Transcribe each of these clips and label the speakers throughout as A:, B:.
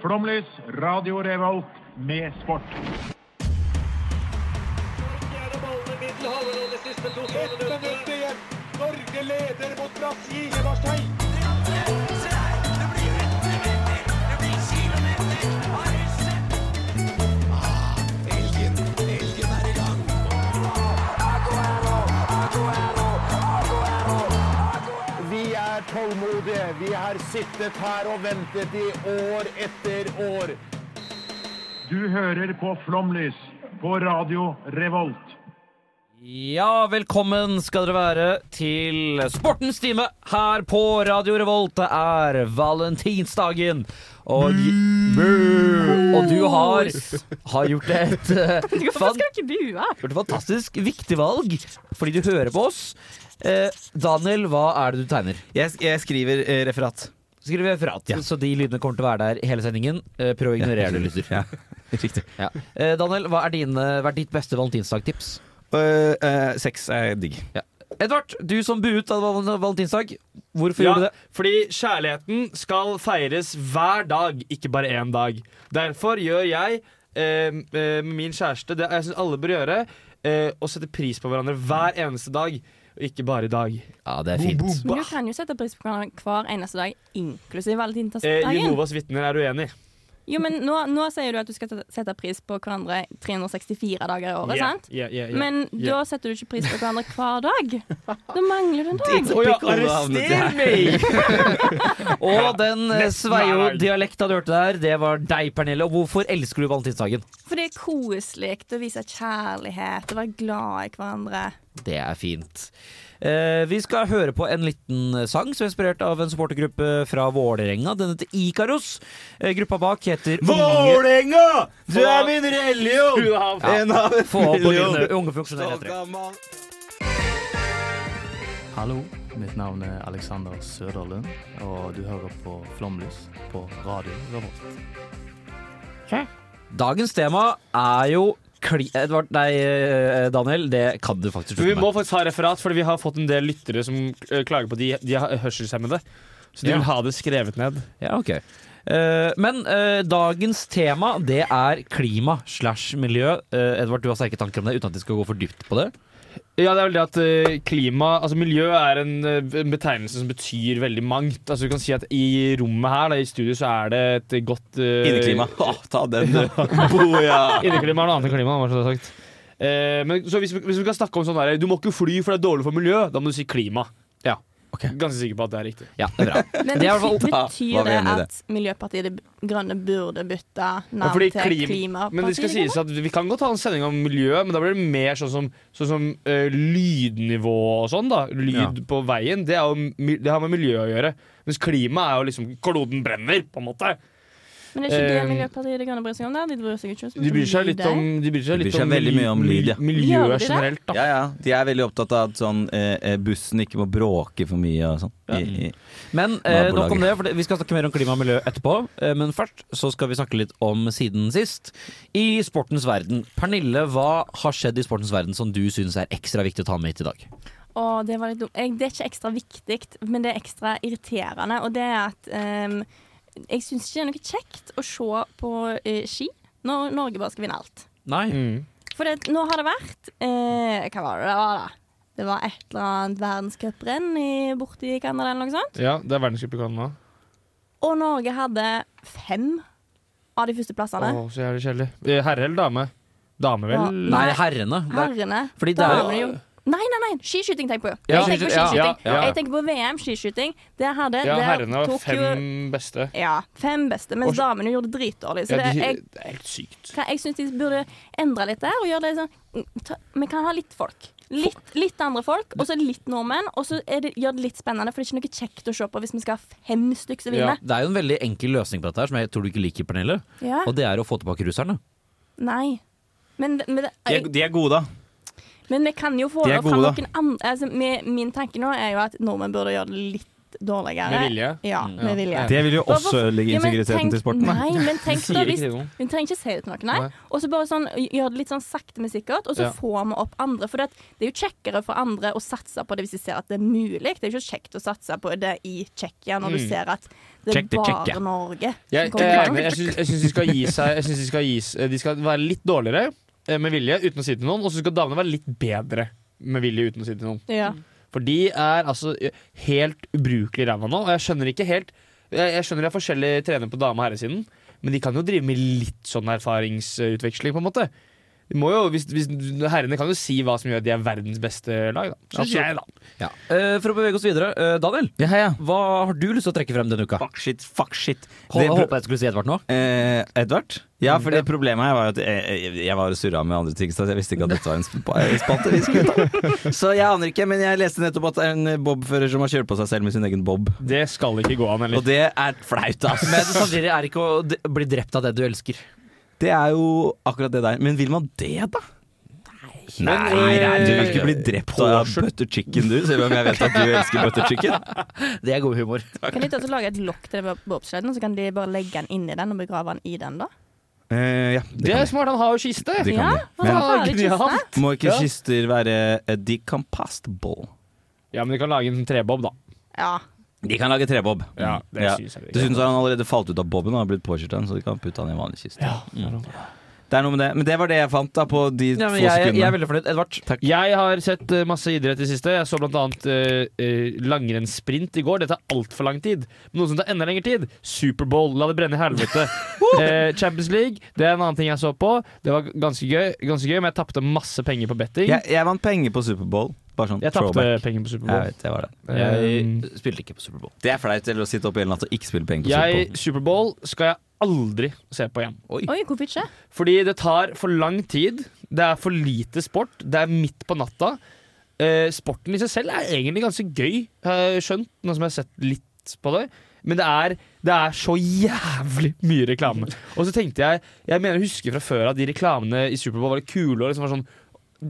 A: Flomlys, Radio Revolt, med sport.
B: Ett minutt igjen. Norge leder mot Brasil i Marseille.
C: Vi er tålmodige. Vi har sittet her og ventet i år etter år.
A: Du hører på Flomlys på Radio Revolt.
D: Ja, velkommen skal dere være til Sportens time her på Radio Revolt. Det er valentinsdagen, og, Boo! og du har, har gjort et eh,
E: Hvorfor
D: fan-
E: skal ikke bua?
D: gjort et fantastisk viktig valg, fordi du hører på oss. Eh, Daniel, hva er det du tegner?
F: Jeg, jeg skriver eh, referat.
D: Skriv referat,
F: Ja.
D: så de lydene kommer til å være der i hele sendingen. Eh, prøv å ignorere det, lytter.
F: Ja, riktig.
D: Ja. Eh, Daniel, hva er, dine, hva er ditt beste valentinsdagtips?
F: Uh, sex er digg.
D: Edvard, du som buet av val- valentinsdag, hvorfor
G: Ja,
D: gjorde du det?
G: fordi kjærligheten skal feires hver dag, ikke bare én dag. Derfor gjør jeg eh, eh, med min kjæreste det jeg syns alle bør gjøre, eh, å sette pris på hverandre hver eneste dag. Og ikke bare i dag.
D: Ja, det er fint.
E: Men du kan jo sette pris på hverandre hver eneste dag, inklusiv
G: Eh,
E: valentinsdagen.
G: Jehovas vitner er uenig.
E: Jo, men nå, nå sier du at du skal sette- sette pris på hverandre 364 dager i året,
G: Yeah,
E: sant?
G: yeah, yeah, yeah.
E: Men
G: yeah.
E: da setter du ikke pris på hverandre hver dag. Da mangler du en dag.
G: Å ja,
F: Pickle havnet
G: arrester meg!
D: Og den eh,
G: Nesten hver dag.
D: Sveio-dialekta du hørte der, det var deg, Pernille. Og hvorfor elsker du valentinsdagen?
E: For det er koselig å vise kjærlighet og være glad i hverandre.
D: Det er fint. Eh, vi skal høre på en liten sang som er inspirert av en supportergruppe fra Vålerenga. Den heter Ikaros. Eh, gruppa bak heter Unge
F: Vålerenga! Du er min religion!
G: Skru av.
F: En av en
D: Få opp på
F: million.
D: lyden, unge funksjonelle heter det.
H: Hallo, mitt navn er Alexander Søderlund, og du hører på Flomlys på Radio Revolt.
D: Dagens tema er jo kli... Edvard, nei, eh, Daniel, det kan du faktisk
G: Men vi
D: slutte
G: må
D: med.
G: faktisk ha referat, fordi vi har fått en del lyttere som eh, klager på de, de har hørselshemmede. Så de
D: Ja.
G: vil ha det skrevet ned.
D: Ja, ok. Eh, men eh, dagens tema det er klima slash miljø. Eh, Edvard, du har sterke tanker om det uten at vi skal gå for dypt på det.
G: Ja, det er vel det at eh, klima Altså miljø er en eh, en betegnelse som betyr veldig mangt. Altså Du kan si at i rommet her, da, i studio, så er det et godt eh,
F: Inneklima. Å, ta den, du. Boja!
G: Inneklima er noe annet enn klima. Bare så det er sagt. Eh, men så hvis, vi- hvis vi kan snakke om sånn der Du må ikke fly, for det er dårlig for miljøet. Da må du si klima. Ja.
F: Ok.
G: Ganske sikker på at det er riktig.
D: Ja, det er bra.
E: Men
D: Det er i hvert
E: betyr,
F: var
E: betyr
F: vi
E: det
F: enige i det.
E: at Miljøpartiet De Grønne burde bytte
G: Ja,
E: navn
G: fordi
E: til
G: klim-
E: Klimapartiet?
G: men det skal
E: De Grønne?
G: sies at Vi kan godt ha en sending om miljø, men da blir det mer sånn som, sånn som eh, lydnivå og sånn. da Lyd
D: Ja.
G: på veien. Det, er jo, mi- det har med miljø å gjøre. Mens klima er jo liksom Kloden brenner, på en måte.
E: Men det er ikke
G: Eh,
E: det Miljøpartiet De Grønne bryr seg om? der De bryr seg ikke så mye
G: De bryr seg
E: om
G: litt
E: det.
G: om, de bryr seg
F: De
G: litt
F: bryr seg
G: om
F: veldig mye om lyd, ja.
E: Gjør de
G: miljøet
E: det?
G: generelt, da.
F: Ja, ja. De er veldig opptatt av at sånn, eh, eh, bussen ikke må bråke for mye og sånn. I, i.
D: Men eh, nok om
F: Nabolaget.
D: det, for det- vi skal snakke mer om klima og miljø etterpå. Eh, men først så skal vi snakke litt om siden sist. I sportens verden. Pernille, hva har skjedd i sportens verden som du syns er ekstra viktig å ta med hit i dag?
E: Å, det var litt dumt. Jeg- Det er ikke ekstra viktig, men det er ekstra irriterende. Og det er at ehm, jeg syns ikke det er noe kjekt å se på eh, ski når Norge bare skal vinne alt.
D: Nei.
G: Mm.
E: For det, nå har det vært eh, Hva var det det var, da? Det var et eller annet verdenscuprenn i- borte i Canada eller noe sånt.
G: Ja, det er verdenscup i Canada.
E: Og Norge hadde fem av de første
G: Å,
E: plassene.
G: så jævlig kjedelig. Eh, Herre eller dame? Dame,
E: Ja.
G: vel?
D: Nei, herrene. Det er-
E: Herrene.
D: Fordi det er jo-
E: damene Nei, nei, nei. Skiskyting tenker jeg på.
D: Ja,
E: jeg
D: skiskyting,
E: tenker på skiskyting.
G: ja, ja, ja.
E: Jeg tenker på VM skiskyting. Det hadde
G: Ja,
E: det
G: herrene var
E: tok jo
G: fem beste.
E: Ja, fem beste, mens
G: Og så-
E: damene gjorde det dritdårlig. Så
G: Ja, de,
E: det, jeg,
G: det er helt sykt.
E: hva- jeg syns de burde endre litt der. Og gjøre det sånn ta, Vi kan ha litt folk. Litt, litt andre folk, og så litt nordmenn. Og så er det, gjør det litt spennende, for det er ikke noe kjekt å se på hvis vi skal ha fem stykker som vinner.
D: Det er jo en veldig enkel løsning på dette her, som jeg tror du ikke liker, Pernille.
E: Ja.
D: Og det er å få tilbake russerne.
E: Nei. Men, men, det-
F: De, er, de er gode, da.
E: men vi kan jo få
F: De er
E: det fram
F: gode, da.
E: noen andre altså, mi- Min tanke nå er jo at nordmenn burde gjøre det litt litt dårligere.
G: Med vilje?
E: Ja, med
G: Ja.
E: vilje.
F: Det vil jo også ødelegge
E: Ja, men
F: integriteten
E: tenk-
F: til sporten.
E: Nei, men tenk da
G: Sier
E: hvis
G: ikke noe.
E: Hun trenger ikke si det til noen, nei.
G: Nei.
E: Og så bare sånn, gjør det litt sånn sakte, men sikkert, og så
G: Ja.
E: får vi opp andre. For det, at det er jo kjekkere for andre å satse på det hvis de ser at det er mulig. Det er jo ikke kjekt å satse på det i Tsjekkia når du
G: Mm.
E: ser at det er
F: Check the
E: bare
F: Tsjekkia.
E: Norge som
G: Jeg, jeg,
E: kommer
G: er
E: til
G: enig.
E: Norge.
G: eh, jeg, syns- jeg syns de skal gi seg Jeg synes de skal, gi, s- de skal være litt dårligere eh, med vilje uten å si det til noen, og så skal damene være litt bedre med vilje uten å si det til noen.
E: Ja.
G: For de er altså eh, helt ubrukelig ræva nå, og jeg skjønner ikke helt Jeg, jeg skjønner de er forskjellige trenere på dame- og herresiden, men de kan jo drive med litt sånn erfaringsutveksling, på en måte. De må jo, hvis, hvis, herrene kan jo si hva som gjør at de er verdens beste lag, da. Synes jeg, da.
D: Eh, for å bevege oss videre, eh, Daniel,
F: Ja, ja.
D: hva har du lyst til å trekke frem denne uka?
F: Fuck shit, fuck shit.
D: Hå-
F: Det
D: Jeg
F: pro-
D: håper jeg ikke skulle si Edvard nå.
F: Eh, Edvard? Ja, for
G: Ja.
F: det problemet her var jo at jeg, jeg, jeg var og surra med andre ting, så jeg visste ikke at dette var en sp- spalte vi skulle ta. Så jeg aner ikke, men jeg leste nettopp at det er en bobfører som har kjørt på seg selv med sin egen bob.
G: Det skal ikke gå an,
F: Og
G: heller.
F: det er flaut, ass.
D: Men samtidig er det ikke å d- bli drept av det du elsker.
F: Det er jo akkurat det der. Men vil man det, da? Nei,
G: Men,
F: nei, du vil
G: eh,
F: ikke bli drept av
G: påskjørt.
F: butter chicken, du, selv om jeg vet at du elsker butter chicken.
D: Det er god humor.
E: Kan de ikke også lage et lokk til den bobsleden, og så kan de bare legge den inni den og begrave den i den, da?
F: Eh, ja,
G: Det
F: det
G: er smart, han har jo kiste!
F: Det kan
E: ja,
F: de.
E: hva
F: Men-
E: faen, det er
G: Genialt.
E: kiste?
F: kan Må ikke
G: Ja.
F: kister være eh, decompostable?
G: Ja, men du kan lage en trebob, da.
E: Ja.
F: De kan lage trebob.
G: Ja, det
F: Mm. Ja.
G: synes jeg er
F: Dessuten så har han allerede falt ut av boben og har blitt påkjørt av den, så de kan putte han i en vanlig kiste.
G: greit.
F: Det er noe med det. Men det var det jeg fant da på de
D: Ja,
F: få
D: men jeg, jeg er
F: sekundene.
D: veldig fornøyd. Edvard,
G: Jeg har sett eh, masse idrett i det siste. Jeg så blant annet eh, eh, langrennssprint i går. Det tar altfor lang tid. Men noe som tar enda lengre tid. Superbowl. La det brenne i helvete. Eh, Champions League, det er en annen ting jeg så på. Det var ganske gøy, ganske gøy men jeg tapte masse penger på betting.
F: Jeg, jeg vant penger på Superbowl. Bare sånn
G: jeg tapte
F: throwback.
G: penger på
F: Jeg
G: Superbowl.
F: vet, det var det.
D: jeg
G: Um,
D: spilte ikke på Superbowl.
F: Det er flaut eller å sitte opp hele natta og ikke spille penger på
G: jeg,
F: Superbowl.
G: Superbowl skal jeg aldri se på igjen.
E: Oi, hvorfor ikke?
G: Fordi det tar for lang tid. Det er for lite sport. Det er midt på natta. Eh, sporten i seg selv er egentlig ganske gøy, har jeg skjønt, nå som jeg har sett litt på det. Men det er, det er så jævlig mye reklame. Og så tenkte jeg Jeg mener jeg husker fra før at de reklamene i Superbowl var litt kule. Og liksom var sånn,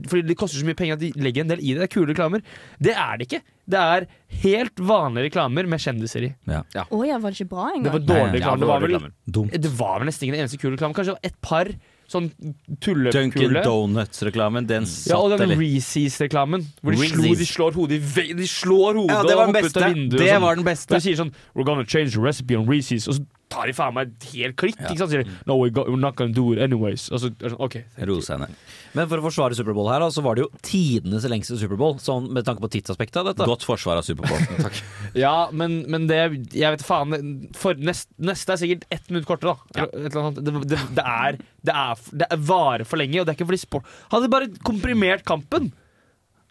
G: fordi det koster så mye penger at de legger en del i det. Det er kule reklamer. Det er det ikke. Det er helt vanlige reklamer med kjendiser i.
E: Å ja, var det ikke bra
G: Det
E: engang?
G: var
F: Ja,
G: dårlige reklamer. Det var vel
F: Dum.
G: det var vel nesten ingen eneste kul reklame. Kanskje det var et par sånn
F: Dunkin'
G: tullekule.
F: Donuts-reklamen, Mm. den
G: Ja, og
F: satt,
G: den
F: eller?
G: Reesees-reklamen. Hvor de, slo,
F: Reese's.
G: de slår hodet i vei- De slår hodet
F: Ja, det var
G: og
F: den
G: hopper ut
F: beste.
G: av vinduet.
F: Det
G: og sånn.
F: var den
G: For
F: beste.
G: de sier sånn We're gonna change the recipe on Reesees. Og så tar de faen meg et helt klikk. Ikke sant? Så Sier de No, we go, we're not gonna do it anyways. Og så er det sånn, OK.
F: Rose henne.
D: Men for å forsvare Superbowl her, da, så var det jo tidenes lengste Superbowl, sånn med tanke på tidsaspektet av dette.
F: Godt forsvar av Superbowl. Takk.
G: Ja, men, men det Jeg vet faen. For, nest, neste er sikkert ett minutt kortere, da. Eller et eller annet. Det, det, det, er, det, er, det er varer for lenge, og det er ikke fordi sport Hadde de bare komprimert kampen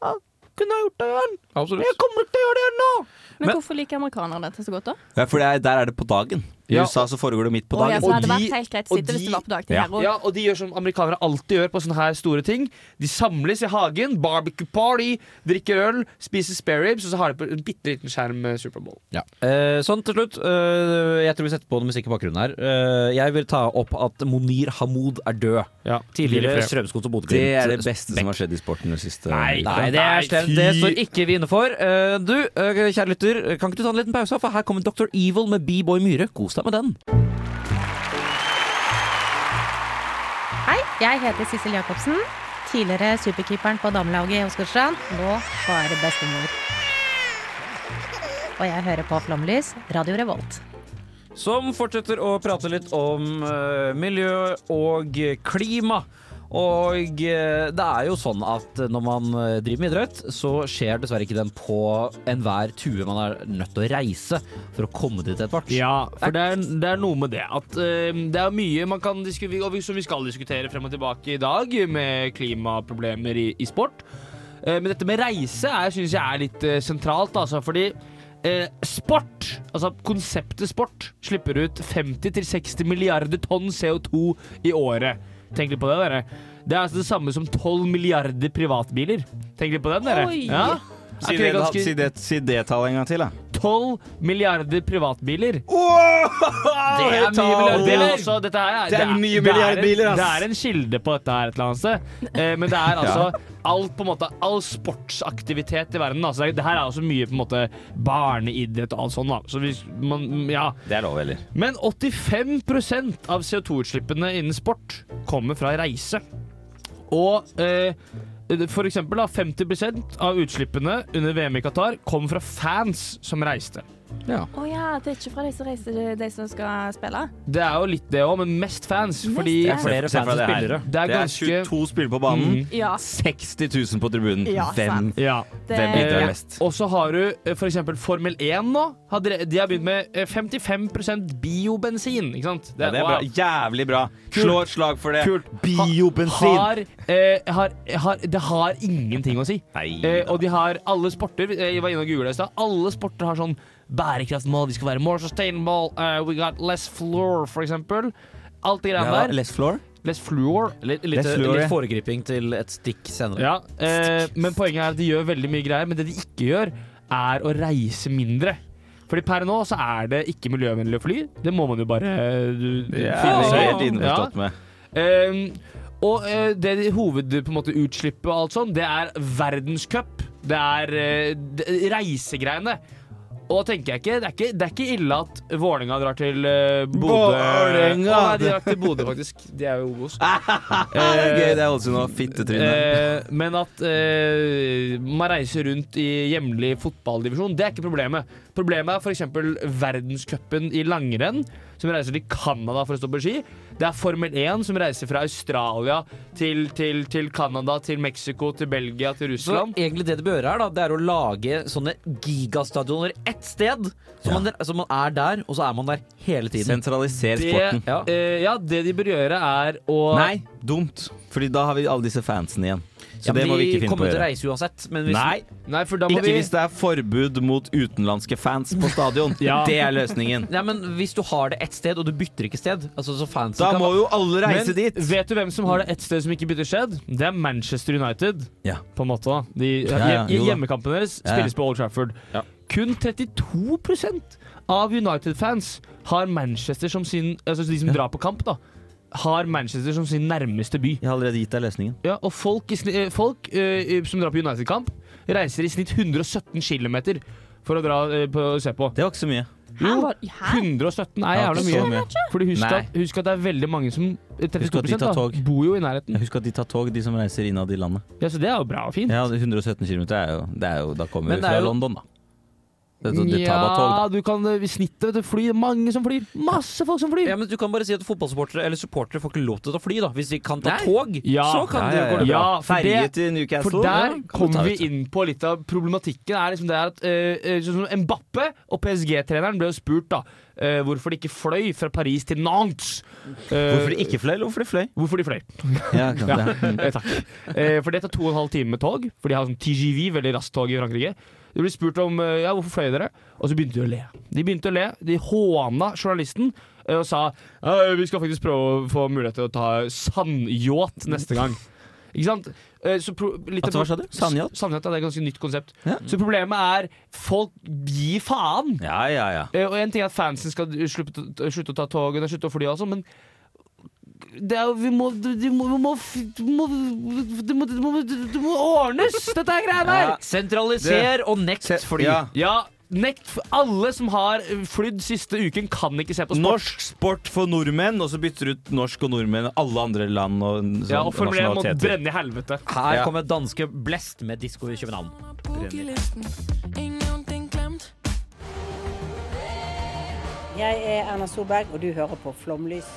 G: ja, Kunne ha gjort det, Jørn. Jeg kommer ikke til å gjøre det nå!
E: Men hvorfor liker amerikanerne dette så godt, da?
F: Ja, for det er, der er det på dagen. I
G: Ja.
F: USA så foregår det midt på
E: Å ja,
F: dagen.
E: så
G: Og
E: hadde det
G: de-
E: vært helt greit
G: og
E: sitte hvis
G: de-
E: det var på dag til
F: Ja.
E: her òg.
G: Ja, og de gjør som amerikanere alltid gjør på sånne her store ting. De samles i hagen, barbecue party, drikker øl, spiser spareribs, og så har de på en bitte liten skjerm eh, Superbowl.
D: Eh, sånn til slutt. eh, jeg tror vi setter på noe musikk i bakgrunnen her. Eh, jeg vil ta opp at Monir Hamoud er død.
G: Ja,
D: Tidligere Strømsgodt og
F: Det
D: Bodø-Glimt.
F: er det beste som har skjedd i sporten den siste
G: Nei.
F: uka.
D: Nei, det er
G: Nei,
D: slemt.
G: fy.
D: Det står ikke vi inne for. Eh, du, eh, kjære lytter, kan ikke du ta en liten pause? For her kommer Dr. Evil med B-boy Myhre. Kos deg med den.
I: Hei, jeg heter Sissel Jacobsen. Tidligere superkeeperen på damelaget i Åsgårdstrand. Nå bare bestemor. Og jeg hører på Flomlys, Radio Revolt.
D: Som fortsetter å prate litt om eh, miljø og klima. Og eh, det er jo sånn at når man eh, driver med idrett, så skjer dessverre ikke den på enhver tue man er nødt til å reise for å komme dit etter hvert.
G: Ja, for det er, det er noe med det at eh, det er mye man kan diskutere, og vi- som vi skal diskutere frem og tilbake i dag, med klimaproblemer i, i sport. Eh, men dette med reise er, synes jeg er litt eh, sentralt, altså, fordi eh, sport, altså konseptet sport, slipper ut 50-60 milliarder tonn CO2 i året. Tenk litt på det, dere. Det er altså det samme som 12 milliarder privatbiler. Tenk litt på den, dere.
E: Oi.
G: Ja. Si det,
F: Ok,
G: ganske-
F: si det, si det tallet en gang til, da.
G: 12 milliarder privatbiler.
F: Det
G: Det er mye milliardbiler. Altså, dette her,
F: Det er mye milliardbiler, ass.
G: Det er en kilde på dette her et eller annet sted. Eh, men det er altså alt, på en måte, all sportsaktivitet i verden. Altså, det her er også mye på en måte barneidrett og alt sånt. Da. Så hvis man, ja.
F: Det er lov, eller?
G: Men 85 av CO2-utslippene innen sport kommer fra reise. Og eh, for eksempel da, 50 av utslippene under VM i Qatar kom fra fans som reiste.
E: Å ja, det er ikke fra de som reiser, det er de som skal spille?
G: Det er jo litt det òg, men mest fans. Fordi
E: Det er flere
F: Se for deg det her.
G: Det er
F: Det er
G: ganske
F: 22 spillere på banen.
G: Mm.
E: Ja.
F: 60 000 på tribunen.
E: Ja,
F: Hvem,
E: sant.
G: Ja.
E: Det,
F: hvem bidrar
G: Eh,
F: mest?
G: Og så har du eh, for eksempel Formel 1 nå. Har dere- De har begynt med eh, 55 biobensin, ikke sant?
F: Ja, det er bra.
G: wow.
F: Jævlig bra. Slå et slag for det.
G: Kult.
F: Biobensin.
G: Har, eh, har, har, det har ingenting å si.
F: Nei,
G: Eh, og de har alle sporter eh, Jeg var inne og googlet i stad. Alle sporter har sånn bærekraftmål. De skal være more sustainable. eh, we got less floor, for eksempel. Alt det greiene
F: Ja,
G: der.
F: Less floor.
G: Less floor.
D: Litt, litt, eh,
G: eh,
F: Det er slurry.
D: litt foregriping til et stikk senere.
G: Ja, eh, men poenget er at de gjør veldig mye greier, men det de ikke gjør, er å reise mindre. Fordi per nå så er det ikke miljøvennlig å fly. Det må man jo bare eh, du, du
F: Ja,
G: finne
F: det er
G: seg i.
F: helt innforstått med.
G: Ja. Eh, og eh, det de- hoved på en måte utslippet og alt sånn, det er verdenscup. Det er eh, d- reisegreiene. Og da tenker jeg ikke, det er ikke, det er ikke ille at Vålerenga drar til eh, Bodø.
F: Vålerenga!
G: Å, nei, de drar til Bodø, faktisk. De er jo Obos.
F: Ja, det er gøy, det er Ålesund og fittetryne.
G: Eh, men at eh, man reiser rundt i hjemlig fotballdivisjon, det er ikke problemet. Problemet er f.eks. verdenscupen i langrenn, som reiser til Canada for å stå på ski. Det er Formel 1, som reiser fra Australia til, til, til Canada, til Mexico, til Belgia, til
D: Så
G: Russland.
D: egentlig det det bør gjøre her, da, det er å lage sånne gigastadioner ett sted. Så, man, så man er der, og så er man der hele
F: Eh,
D: tiden.
F: Sentraliser
G: Det,
F: sporten.
D: Ja.
G: eh, ja, det de bør gjøre, er å
F: Nei, dumt. Fordi da har vi alle disse fansene igjen. Så
D: Ja, men
F: det må vi ikke finne på å
D: kommer til å
F: gjøre.
D: reise uansett. Men hvis
F: Nei,
G: Nei, for da må
F: ikke
G: vi
F: hvis det er forbud mot utenlandske fans på stadion.
G: Ja.
F: Det er løsningen.
D: Nei, men Hvis du har det ett sted, og du bytter ikke sted altså, så fansen
F: Da
D: kan-
F: må jo alle reise
G: Men
F: dit.
G: vet du hvem som har det ett sted som ikke bytter skjedd? Det er Manchester United.
F: Ja.
G: På en måte da de,
F: Ja, ja,
G: hjem,
F: jo da.
G: Hjemmekampen deres
F: Ja, ja.
G: spilles på Old Trafford. Kun 32 av United-fans har Manchester som sin Altså de som drar på kamp, da. Har Manchester som sin nærmeste by.
F: Jeg har allerede gitt deg løsningen.
G: Ja, og folk, i sni- eh, folk eh, som drar på United-kamp, reiser i snitt 117 km for å dra eh, på, se på.
F: Det var ikke så mye.
E: her var, her?
G: 117 er
F: Ja,
G: jævla
F: så
G: mye. Fordi husk
F: Nei.
G: at, husk at det er veldig mange som
F: Husk at de tar
G: 32 da,
F: tog.
G: bor jo i nærheten.
F: Husk at de tar tog, de som reiser innad i landet.
G: Ja, Så det er jo bra og fint.
F: Ja, 117 km er jo, det er jo Da kommer
D: Men
F: vi
D: det
F: fra
D: er jo-
F: London, da. Det, det, det tar bare tog, da.
G: Ja, du kan eh, i snittet vet du, fly. Mange som flyr. Masse folk som flyr.
D: Ja, men Du kan bare si at fotballsupportere eller supportere får ikke lov til å ta fly. da Hvis de kan ta
F: Nei.
D: tog,
G: Ja.
D: så
F: Ja, ja,
D: kan det
F: ja.
D: gå bra.
G: Ja, for
F: Ferje
G: det-
F: til Newcastle.
G: For der kommer vi
F: ut.
G: inn på litt av problematikken. Er liksom det at eh, eh, sånn som Mbappe og PSG-treneren ble jo spurt da eh, hvorfor de ikke fløy fra Paris til Nantes. Eh,
F: Hvorfor de ikke fløy, eller hvorfor de fløy?
G: Hvorfor de fløy.
F: Ja, Mm. kan,
G: Ja, eh, takk. Eh, for det tar to og en halv time med tog, for de har sånn TGV, veldig raskt tog i Frankrike. De ble spurt om eh, ja, hvorfor fløy dere, og så begynte de å le. De begynte å le, de håna journalisten eh, og sa «Ja, vi skal faktisk prøve å få mulighet til å ta sandyacht neste gang. Ikke sant? Eh, Så pro litt
F: At, Altså, hva sa du? Sandyacht?
G: S- Sandyacht, ja, det er et ganske nytt konsept.
F: Ja.
G: Så problemet er folk gir faen.
F: Ja, ja, ja.
G: Eh, Og en ting er at fansen skal slutte, slutte å ta togene, slutte å fly og sånn, men det er jo Vi må Det må, vi må, f- det må, det må, det må, det må ordnes, dette her greiene her!
F: Ja.
D: Sentraliser og nekt fly.
F: Ja.
G: Ja, nekt f- Alle som har flydd siste uken, kan ikke se på sport.
F: Norsk sport for nordmenn, og så bytter du ut norsk og nordmenn og alle andre land og sånn,
G: Ja, og Formel 1 må
F: nasjonaliteter.
G: brenne i helvete.
D: Her
F: Ja.
D: kommer danske Blest med disko i København.
J: Jeg er Erna Solberg, og du hører på Flomlys.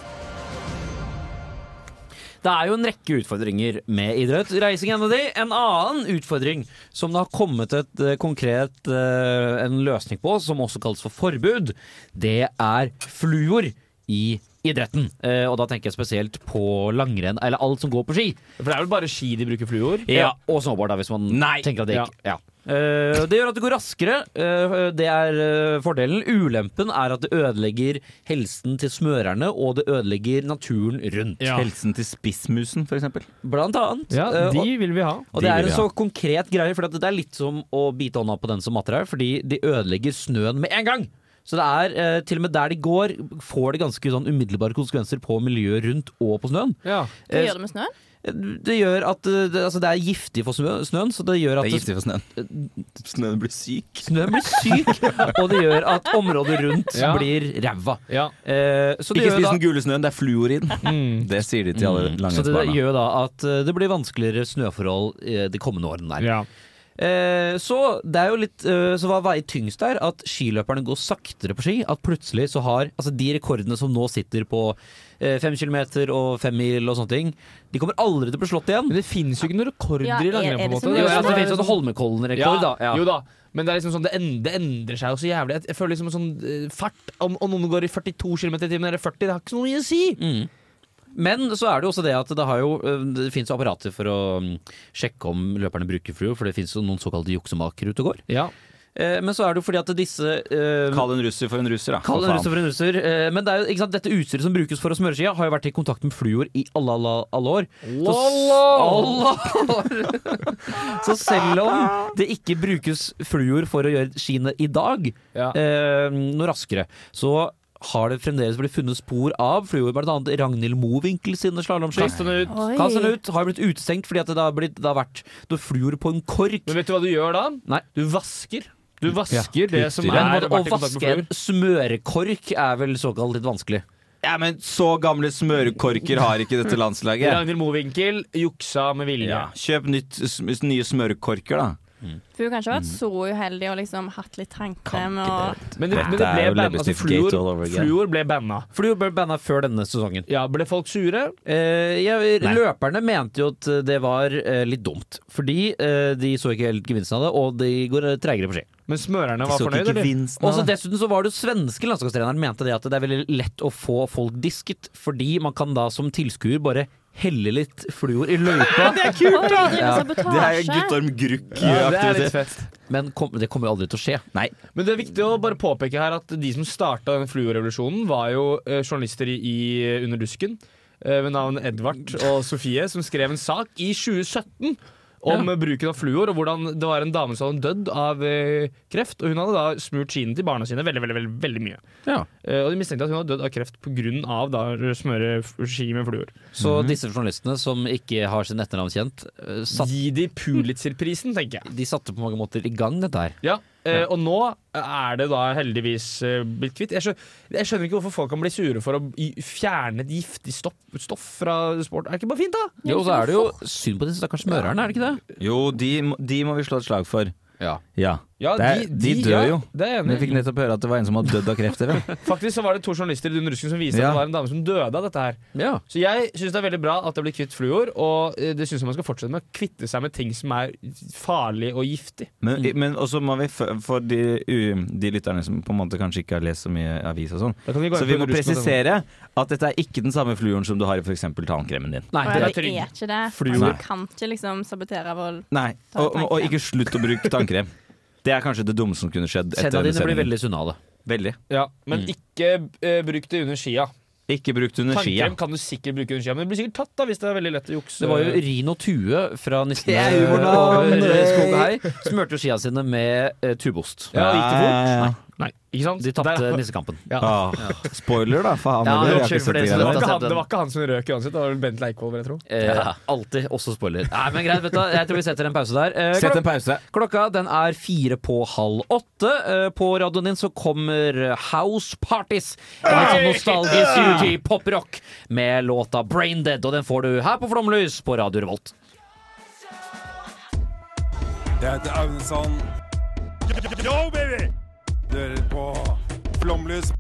D: Det er jo en rekke utfordringer med idrett. Reising er en av de. En annen utfordring som det har kommet et eh, konkret eh, en løsning på, som også kalles for forbud, det er fluor i idretten. Eh, og da tenker jeg spesielt på langrenn, eller alt som går på ski.
G: For det er vel bare ski de bruker fluor?
D: Ja, Og snowboard, da, hvis man
F: Nei.
D: tenker at det
G: Ja.
D: ikke ja. Eh, det gjør at det går raskere. eh, det er eh, fordelen. Ulempen er at det ødelegger helsen til smørerne, og det ødelegger naturen rundt.
G: Ja.
F: Helsen til spissmusen, for eksempel.
D: Blant annet.
G: Ja,
D: Eh, og-
G: de vil vi ha.
D: og
F: De
D: det er
F: vil
D: en
F: vi
D: så konkret greie, for at det er litt som å bite hånda på den som matter her, fordi de ødelegger snøen med en gang! Så det er, eh, til og med der de går, får det ganske sånn umiddelbare konsekvenser på miljøet rundt og på snøen.
G: Ja.
E: Hva gjør det med snøen?
D: Det gjør at eh, det, altså det er giftig for snø- snøen, så det gjør
F: Det
D: at
F: er
D: det,
F: giftig for snøen. Snøen blir syk.
D: snøen blir syk, og det gjør at området rundt
G: Ja.
D: blir ræva.
G: ja. Mm.
D: Eh, så det
F: Ikke
D: gjør
F: spis
D: da,
F: den gule snøen, det er fluorin. Det sier de til alle
D: så det
F: langrennsbarna.
D: gjør da at eh, det blir vanskeligere snøforhold eh, de kommende årene der.
G: ja.
D: Eh, så det er jo litt eh, Så hva veier tyngst der? At skiløperne går saktere på ski. At plutselig så har Altså de rekordene som nå sitter på eh, fem kilometer og fem mil og sånne ting, de kommer aldri til å bli slått igjen.
G: Men det finnes jo ikke noen rekorder
E: Ja,
G: i
E: er- er
G: langrenn, på en
E: det
G: måte.
E: som-
D: Jo, ja, det
G: er
D: finnes jo
G: sånn-
D: en Holmenkollen-rekord, da. Ja.
G: Jo da. Men det er liksom sånn, det, end, det endrer seg jo så jævlig. Jeg, jeg føler liksom en sånn eh, fart Om, om noen går i 42 km i timen eller 40, det har ikke så mye å si!
D: Men så er det jo også det at det, har jo, eh, det finnes jo apparater for å mm, sjekke om løperne bruker flue, for det finnes jo noen såkalte juksemakere ute og går.
G: Ja.
D: Eh, men så er det jo fordi at disse eh,
F: Kall en russer for en russer, da.
D: Kall
F: for faen.
D: en russer for en russer. Eh, Men det er jo, ikke sant, dette utstyret som brukes for å smøre skia, har jo vært i kontakt med fluor i alle, alle, alle år. Så, Alle år. så selv om det ikke brukes fluor for å gjøre skiene i dag
G: Ja.
D: eh, noe raskere, så har det fremdeles blitt funnet spor av fluor, blant annet Ragnhild Mowinckel sine slalåmski.
G: Kast den ut.
E: Oi.
D: Kast den ut. Har blitt utestengt fordi at det har, blitt, det har vært det er fluor på en kork.
G: Men vet du hva du gjør da?
D: Nei.
G: Du vasker. Du vasker det som
F: riktig.
G: er
D: Men å
G: vært i kontakt med
D: vaske en
G: fluor.
D: smørekork er vel såkalt litt vanskelig.
F: Ja, men så gamle smørekorker har ikke dette landslaget.
G: Ragnhild Mowinckel juksa med vilje.
F: Ja. Kjøp nytt, sm nye smørekorker, da.
E: For hun kan ikke ha vært så uheldig og liksom hatt litt tannkrem og
G: Men, det, men det
F: Dette er
G: ble
F: jo
G: banna. Altså,
F: leppestiftgate all
G: fluor,
F: over again.
G: fluor ble banna.
D: Fluor ble banna før denne sesongen.
G: Ja, ble folk sure?
D: Eh, jeg, løperne mente jo at det var eh, litt dumt, fordi eh, de så ikke helt gevinsten av det, og de går eh, tregere på ski.
G: Men smørerne var
F: Så ikke
G: fornøyd, eller?
F: gevinsten
D: Og så
F: av det.
D: Dessuten så var det jo svenske landslagstreneren mente det at det er veldig lett å få folk disket, fordi man kan da som tilskuer bare helle litt fluor i løypa.
E: Kult, Oi, de driver med
F: Det er
E: sabotasje!
F: Guttorm Grukk i
G: Ja, det er litt
F: aktivitet.
G: fett.
D: Men kom, det kommer jo aldri til å skje.
F: Nei.
G: Men det er viktig å bare påpeke her at de som starta denne fluorrevolusjonen, var jo eh, journalister i, i eh, Under dusken eh, ved navn Edvard og Sofie, som skrev en sak i 2017 om eh, bruken av fluor, og hvordan det var en dame som hadde dødd av eh, kreft. Og hun hadde da smurt skiene til barna sine veldig, veldig, veldig, veldig mye.
D: Ja.
G: Eh, og de mistenkte at hun hadde dødd av kreft pga. da å smøre f- ski med fluor.
D: Så
F: Mhm.
D: disse journalistene som ikke har sin etternavn kjent, eh, satt,
G: Gi de Pulitzer-prisen, tenker jeg.
D: de satte på mange måter i gang dette her.
G: Ja, eh, Og nå er det da heldigvis eh, blitt kvitt. Jeg skjønner, jeg skjønner ikke hvorfor folk kan bli sure for å i- fjerne et giftig stoff, stoff fra sport. Er det ikke bare fint, da?
D: Jo, så er det jo synd på de stakkars smørerne, er det ikke det?
F: Jo, de, må- de må vi slå et slag for.
D: Ja.
F: Ja. Det er- de dør
G: ja,
F: jo.
G: Det er jeg
F: Men
G: enig.
F: jeg fikk nettopp høre at det var en som hadde dødd av kreft. eller?
G: i. Faktisk så var det to journalister i Dun Rusken som viste
F: Ja.
G: at det var en dame som døde av dette her.
D: ja.
G: Så jeg syns det er veldig bra at det blir kvitt fluor, og eh, det syns jeg man skal fortsette med. Å kvitte seg med ting som er farlig og giftig.
F: Men, men også må vi, f- for de, u- de lytterne som på en måte kanskje ikke har lest så mye avis og sånn,
G: Da kan vi gå
F: så
G: inn
F: vi
G: på
F: må
G: Under Rusken og sånn.
F: presisere at dette er ikke den samme fluoren som du har i f.eks. tannkremen din.
D: Nei, det er
E: Å, ja,
G: er
E: det
G: trygg.
E: er ikke det.
G: Fluor.
E: Altså,
F: Nei.
E: du kan ikke liksom sabotere vold.
F: Nei,
E: Ta
F: og, og
E: tannkrem.
F: ikke slutt å bruke tannkrem. Det er kanskje det dummeste som kunne skjedd. etter
D: Tenna
F: denne
D: dine blir
F: sendingen.
D: veldig sunne av det.
F: Veldig.
G: Ja, men ikke eh, bruk det under skia.
F: Ikke brukt Mm. under skia.
G: Tannkrem kan du sikkert bruke under skia, men du blir sikkert tatt da hvis det er veldig lett å jukse.
D: Det var jo Rin og Tue fra
F: Det
D: Nissene
F: er humoren, da.
D: over skog og hei. Smurte jo skia sine med eh, tubost.
G: Ja, gikk det fort?
F: Nei.
G: Nei, ikke sant?
D: De tapte nissekampen.
F: Ah, spoiler, da, faen.
D: Ja,
F: eller? Jeg har
D: unnskyld
F: ikke sett
D: for det,
F: det
D: så
F: greiene
G: det, var
D: da.
F: der.
G: ikke han, det var ikke han som røk uansett, det var vel Bent Leikvoll, vil jeg tro.
D: Eh, Alltid. Også spoiler. Nei, men greit, vet du. hva, Jeg tror vi setter en pause der. Eh,
F: Sett
D: klok-
F: en pause.
D: Klokka den er fire på halv åtte. Eh, På radioen din så kommer House Parties. Det er Litt sånn nostalgisk UG poprock med låta Brain Dead, og den får du her på Flomlys på Radio Revolt.
B: Jeg heter Aunesson. Yo, baby! Du hører på Flomlys.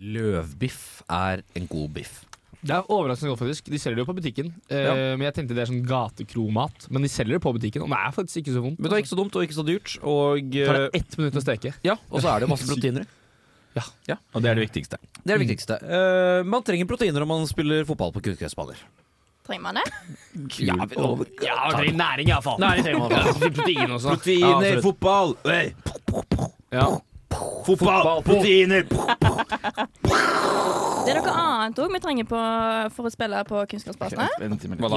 D: Løvbiff er en god biff.
G: Det er overraskende godt, faktisk. De selger det jo på butikken. Eh, Men jeg tenkte det er sånn gatekromat. Men de selger det på butikken, og det er faktisk ikke så vondt.
D: Men det er ikke så dumt og ikke så dyrt. Og,
G: Det tar
D: eh,
G: det ett minutt å steke.
D: ja, og så er det jo masse proteiner.
F: Og det er det viktigste.
D: Det er det viktigste. Eh, man trenger proteiner om man spiller fotball på kunstgressballer.
E: Trenger man det?
F: Ja, men-
G: Ja, man trenger næring, iallfall. Protein også.
F: Proteiner,
G: Ja, absolutt.
F: fotball! Hey.
G: Ja.
F: Fotball, proteiner!
E: Det er noe annet òg vi trenger på, for å spille på Kunnskapsbasene.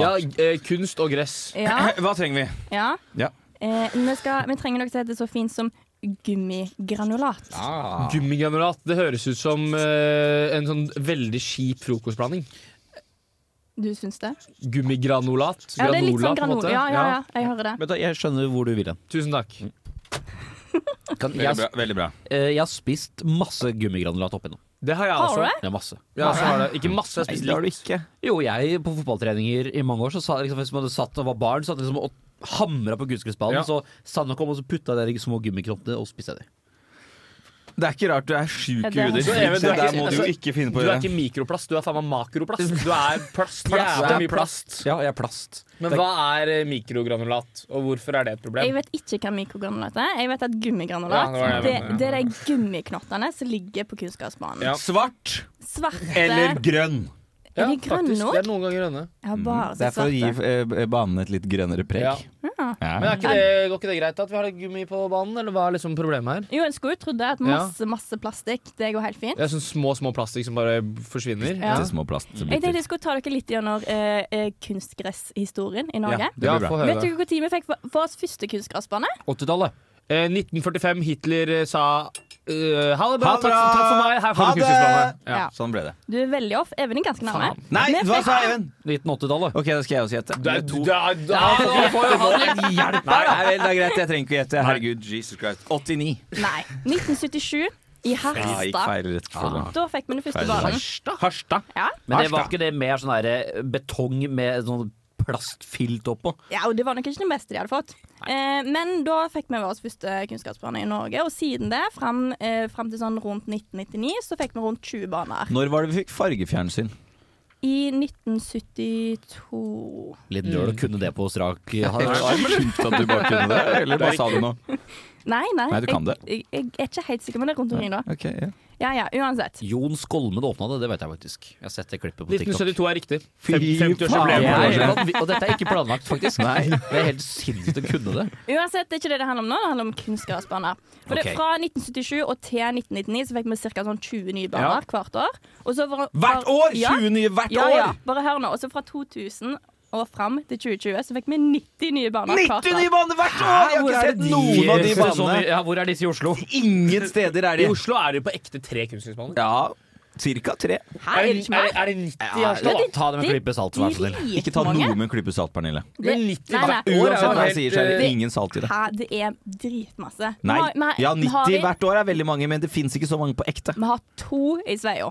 G: ja, eh, kunst og gress.
E: Ja,
F: Hva trenger vi?
E: ja.
F: Ja.
E: Eh, vi, skal, vi trenger noe som heter så fint som gummigranulat.
F: Ah.
G: Gummigranulat. Det høres ut som eh, en sånn veldig kjip frokostblanding.
E: Du syns det?
G: Gummigranulat.
E: Ja, det er litt sånn
G: granola, på en
E: granol.
G: måte.
E: Ja, ja, ja, jeg hører det.
D: Vet du, hva, jeg skjønner hvor du vil hen.
G: Tusen takk.
D: Kan, jeg,
F: Veldig bra. Veldig bra.
D: eh, jeg har spist masse gummigranulat opp igjennom.
G: Det har jeg
E: Har
G: også.
E: du det?
D: Ja, masse.
G: Ja, så har det. Ikke masse. Jeg spiste litt.
F: du ikke.
D: Jo, jeg på fotballtreninger i mange år, så sa liksom, hvis man hadde satt og var barn, så hadde liksom og hamra på kunstgressballen,
G: Ja.
D: så sanda kom, og så putta jeg de små gummikroppene og spiste de.
F: Det er ikke rart du er sjuk
E: Ja,
F: i
E: det er-
F: hudet.
G: Så, Even, du er
F: Det der
G: ikke-
F: må du jo ikke finne
G: Du
F: på å gjøre.
G: er ikke mikroplast, du er faen meg makroplast. Du er plast. Jævlig mye plast.
D: Ja, jeg er plast.
G: Men hva er eh, mikrogranulat, og hvorfor er det et
E: Jeg
G: problem?
E: vet ikke hva mikrogranulat er. Jeg vet at
G: Ja,
E: gummigranulat
G: det var det
E: det,
G: jeg mente,
E: det er de gummiknottene som ligger på kunnskapsbanen.
G: Ja.
F: Svart
E: Svarte
F: eller grønn?
E: Er de
G: Ja,
E: grønne
G: faktisk.
E: òg?
G: Det er noen ganger grønne.
E: Jeg har bare
F: Det er
E: sett
F: for å gi
E: Altså, svarte.
F: eh, banen et litt grønnere preg.
G: Ja.
E: Ja.
G: Men er ikke det, går ikke det greit at vi har litt gummi på banen, eller hva er liksom problemet her?
E: Jo, en skulle jo trodd det. At masse, masse plastikk, det går helt fint.
G: Det er sånn små, små plastikk som bare forsvinner.
E: Ja.
F: Til små
E: Jeg
F: plastbiter.
E: tenkte jeg skulle ta dere litt gjennom eh, eh, kunstgresshistorien i Norge.
F: Ja, det blir bra.
G: få høre
E: Vet
G: det.
E: dere hvor tid vi fikk vår- vår første kunstgressbane?
G: 80-tallet. Eh, 1945. Hitler eh, sa eh, ha det bra,
F: Ha det
G: takk,
F: bra!
G: takk for meg, her
F: Ha
G: får
F: det!
G: du kunstnerskapet. Ja.
E: Ja.
F: Sånn ble det.
E: Du er veldig off. Even er ganske nærme.
F: Nei,
E: Vi
F: hva
E: fikk-
F: sa Even?
D: 1980-tallet.
F: Ok, da skal jeg også gjette.
G: Du er-
F: Det er
G: du
F: to.
G: er- du er-
F: Nei, nei, vel, det er greit. Jeg trenger ikke å gjette. Herregud, Jesus Christ. 89.
E: Nei. 1977 i
F: Ja, gikk
E: Harstad.
F: feil rett foran.
E: Da fikk vi den første
F: Feil.
E: banen.
G: Harstad.
E: Ja.
D: Men det var ikke det mer sånn der betong med sånn plastfilt oppå?
E: ja, og det var nok ikke det beste de hadde fått. Eh, men da fikk vi vår første kunnskapsbane i Norge, og siden det, fram, eh, fram til sånn rundt 1999, så fikk vi rundt 20 baner.
F: Når var det vi fikk fargefjernsyn?
E: I 1972
D: Litt nøl å
F: Mm.
D: kunne det på strak
F: Det
D: arm.
F: var sjukt at du bare kunne det. Eller hva sa du nå?
E: Nei, nei.
F: Nei, du kan det.
E: Jeg, jeg, jeg er ikke helt sikker, men det er rundt omkring da.
F: Ok, ja.
E: Ja, ja, uansett.
D: Jon Skolmen åpna det, det vet jeg faktisk. Jeg har sett det klippet på TikTok.
G: 1972 er riktig.
F: Fy
G: Fem-
D: Det
G: 50-årsjubileum.
F: faen.
D: er helt vanv- og dette er ikke planlagt, faktisk. Det er helt sinnssykt å kunne det.
E: Uansett, det er ikke det det handler om nå, det handler om kunstgressbaner. For det,
D: Ok.
E: fra 1977 og til 1999 så fikk vi ca. Sånn 20 nye baner hvert år. Og så fra,
F: Hvert
E: fra-
F: år!
E: Ja,
F: 20 nye hvert
E: ja,
F: år!
E: ja, bare hør nå. Og så fra 2000 og fram til 2020 så fikk vi 90 nye baner hvert
F: 90
E: år.
F: nye baner hvert år! Jeg har ikke sett noen av de
D: Jesus, så mye-
F: banene.
D: Ja, hvor er disse i Oslo?
F: Ingen steder er
G: I
F: de.
G: Oslo er det jo på ekte tre kunstnerskapsbaner.
F: Ja, cirka tre.
E: Her er det ikke mer.
G: er det 90 i
F: Ja,
G: Harstad?
D: Ta det med en klype salt, vær så snill.
F: Ikke ta noe med en klype salt, Pernille.
G: Men 90
E: Nei, nei.
G: hvert år er
F: Uansett hva
G: jo
F: jeg
G: helt,
F: sier, så er det
G: eh,
F: ingen salt i det.
E: Hæ, det er dritmasse. Vi
F: Nei.
E: har- vi har-
F: Ja,
E: vi har-
F: 90 hvert år er veldig mange, men det fins ikke så mange på ekte.
E: Vi har to i Sveio.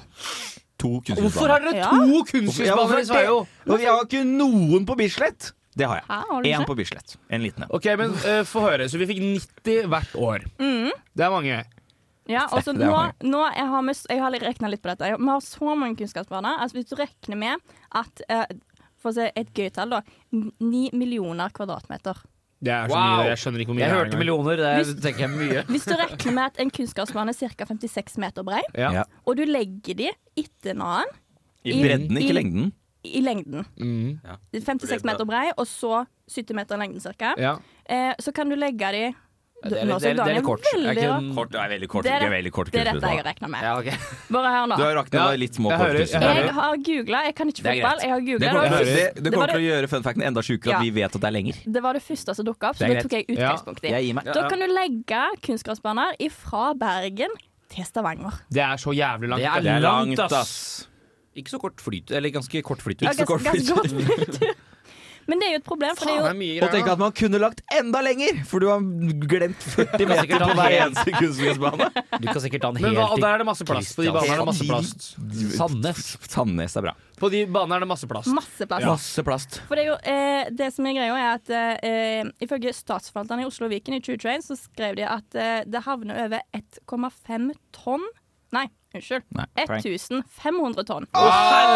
F: To
G: Hvorfor har
F: kunstnerbaner.
G: dere
E: Ja.
F: Ja,
G: to
F: hvorfor
G: kunstnerskapsbaner i
F: det?
G: Sveio?
F: Og jeg har ikke noen på Bislett! Det har
E: Hæ,
F: jeg.
E: har du
F: Én
E: ikke?
F: på Bislett. En liten en.
G: Ok, men eh, få høre. Så vi fikk 90 hvert år. Det er mange.
E: Ja, og så
F: Det
E: nå,
F: er mange.
E: nå jeg har, med, jeg har regna litt på dette. Vi har så mange kunnskapsbaner. Altså hvis du regner med at eh, For å si et gøy tall, da. n- Ni millioner kvadratmeter.
G: Det er så
D: Wow.
G: mye. Jeg skjønner ikke hvor
D: Jeg
G: mye det er
D: hørte
G: engang.
D: millioner, det tenker jeg mye.
E: Hvis du regner med at en kunnskapsbane er ca. 56 meter brei,
G: Ja.
F: Ja.
E: og du legger de etter hverandre
F: I
E: I-
F: bredden,
E: i-
F: ikke lengden.
E: i lengden
G: Mm.
E: 56 meter brei og så 70 meter i lengden ca.
G: ja.
E: Eh, så kan du legge de
D: Det
E: altså,
D: er, det er, det er litt kort. Det er ikke en-
F: Kort er veldig kort.
E: Det er-
F: ikke veldig kort
E: Det er dette jeg
F: kunstnerbaner.
E: har regna med.
D: Ja, ok.
E: Bare hør nå.
F: Du har rakna
G: Ja,
F: ja, litt små
G: jeg hører- jeg hører.
E: Jeg
F: kortkunstnerbaner.
E: har googla. Jeg kan ikke
D: Det er greit.
E: fotball. Jeg har
F: Det
E: googlet,
F: kommer, til,
E: det, var
F: å-
E: det,
F: det, det
E: var
F: kommer til å gjøre fun facten enda sjukere
E: Ja.
F: at vi vet at det er lenger.
E: det var det første som dukka opp, så
D: Det er greit.
E: det tok jeg utgangspunkt i.
F: Jeg gir meg.
E: Da kan du legge kunstgressbaner fra Bergen til Stavanger.
G: Det er så jævlig langt.
D: Det er
G: da.
F: Det er
D: langt,
F: langt,
D: ass. Ikke så kort flyt, eller ganske kort flytur.
E: Ja, gass- gass- godt flytur. Men det er jo et problem, for det er
G: Faen, det er
E: jo
G: mye
F: Og tenk
G: greier.
F: at man kunne lagt enda lenger, for du har glemt 40 meter på hver eneste kunstgressbane.
D: Du kan sikkert ta den
G: Men hva, og
D: helt
G: der er det masse plass. På de banene er det masse plast.
D: til Sandnes.
F: Sandnes er bra.
G: På de banene er det masse plast.
E: masse plass.
F: Masse plast.
E: For det er jo eh, det som er greia, er at eh, ifølge statsforvalterne i Oslo og Viken i 2021, så skrev de at eh, det havner over 1,5 tonn Nei, unnskyld.
F: Nei, prank.
E: 1500 tonn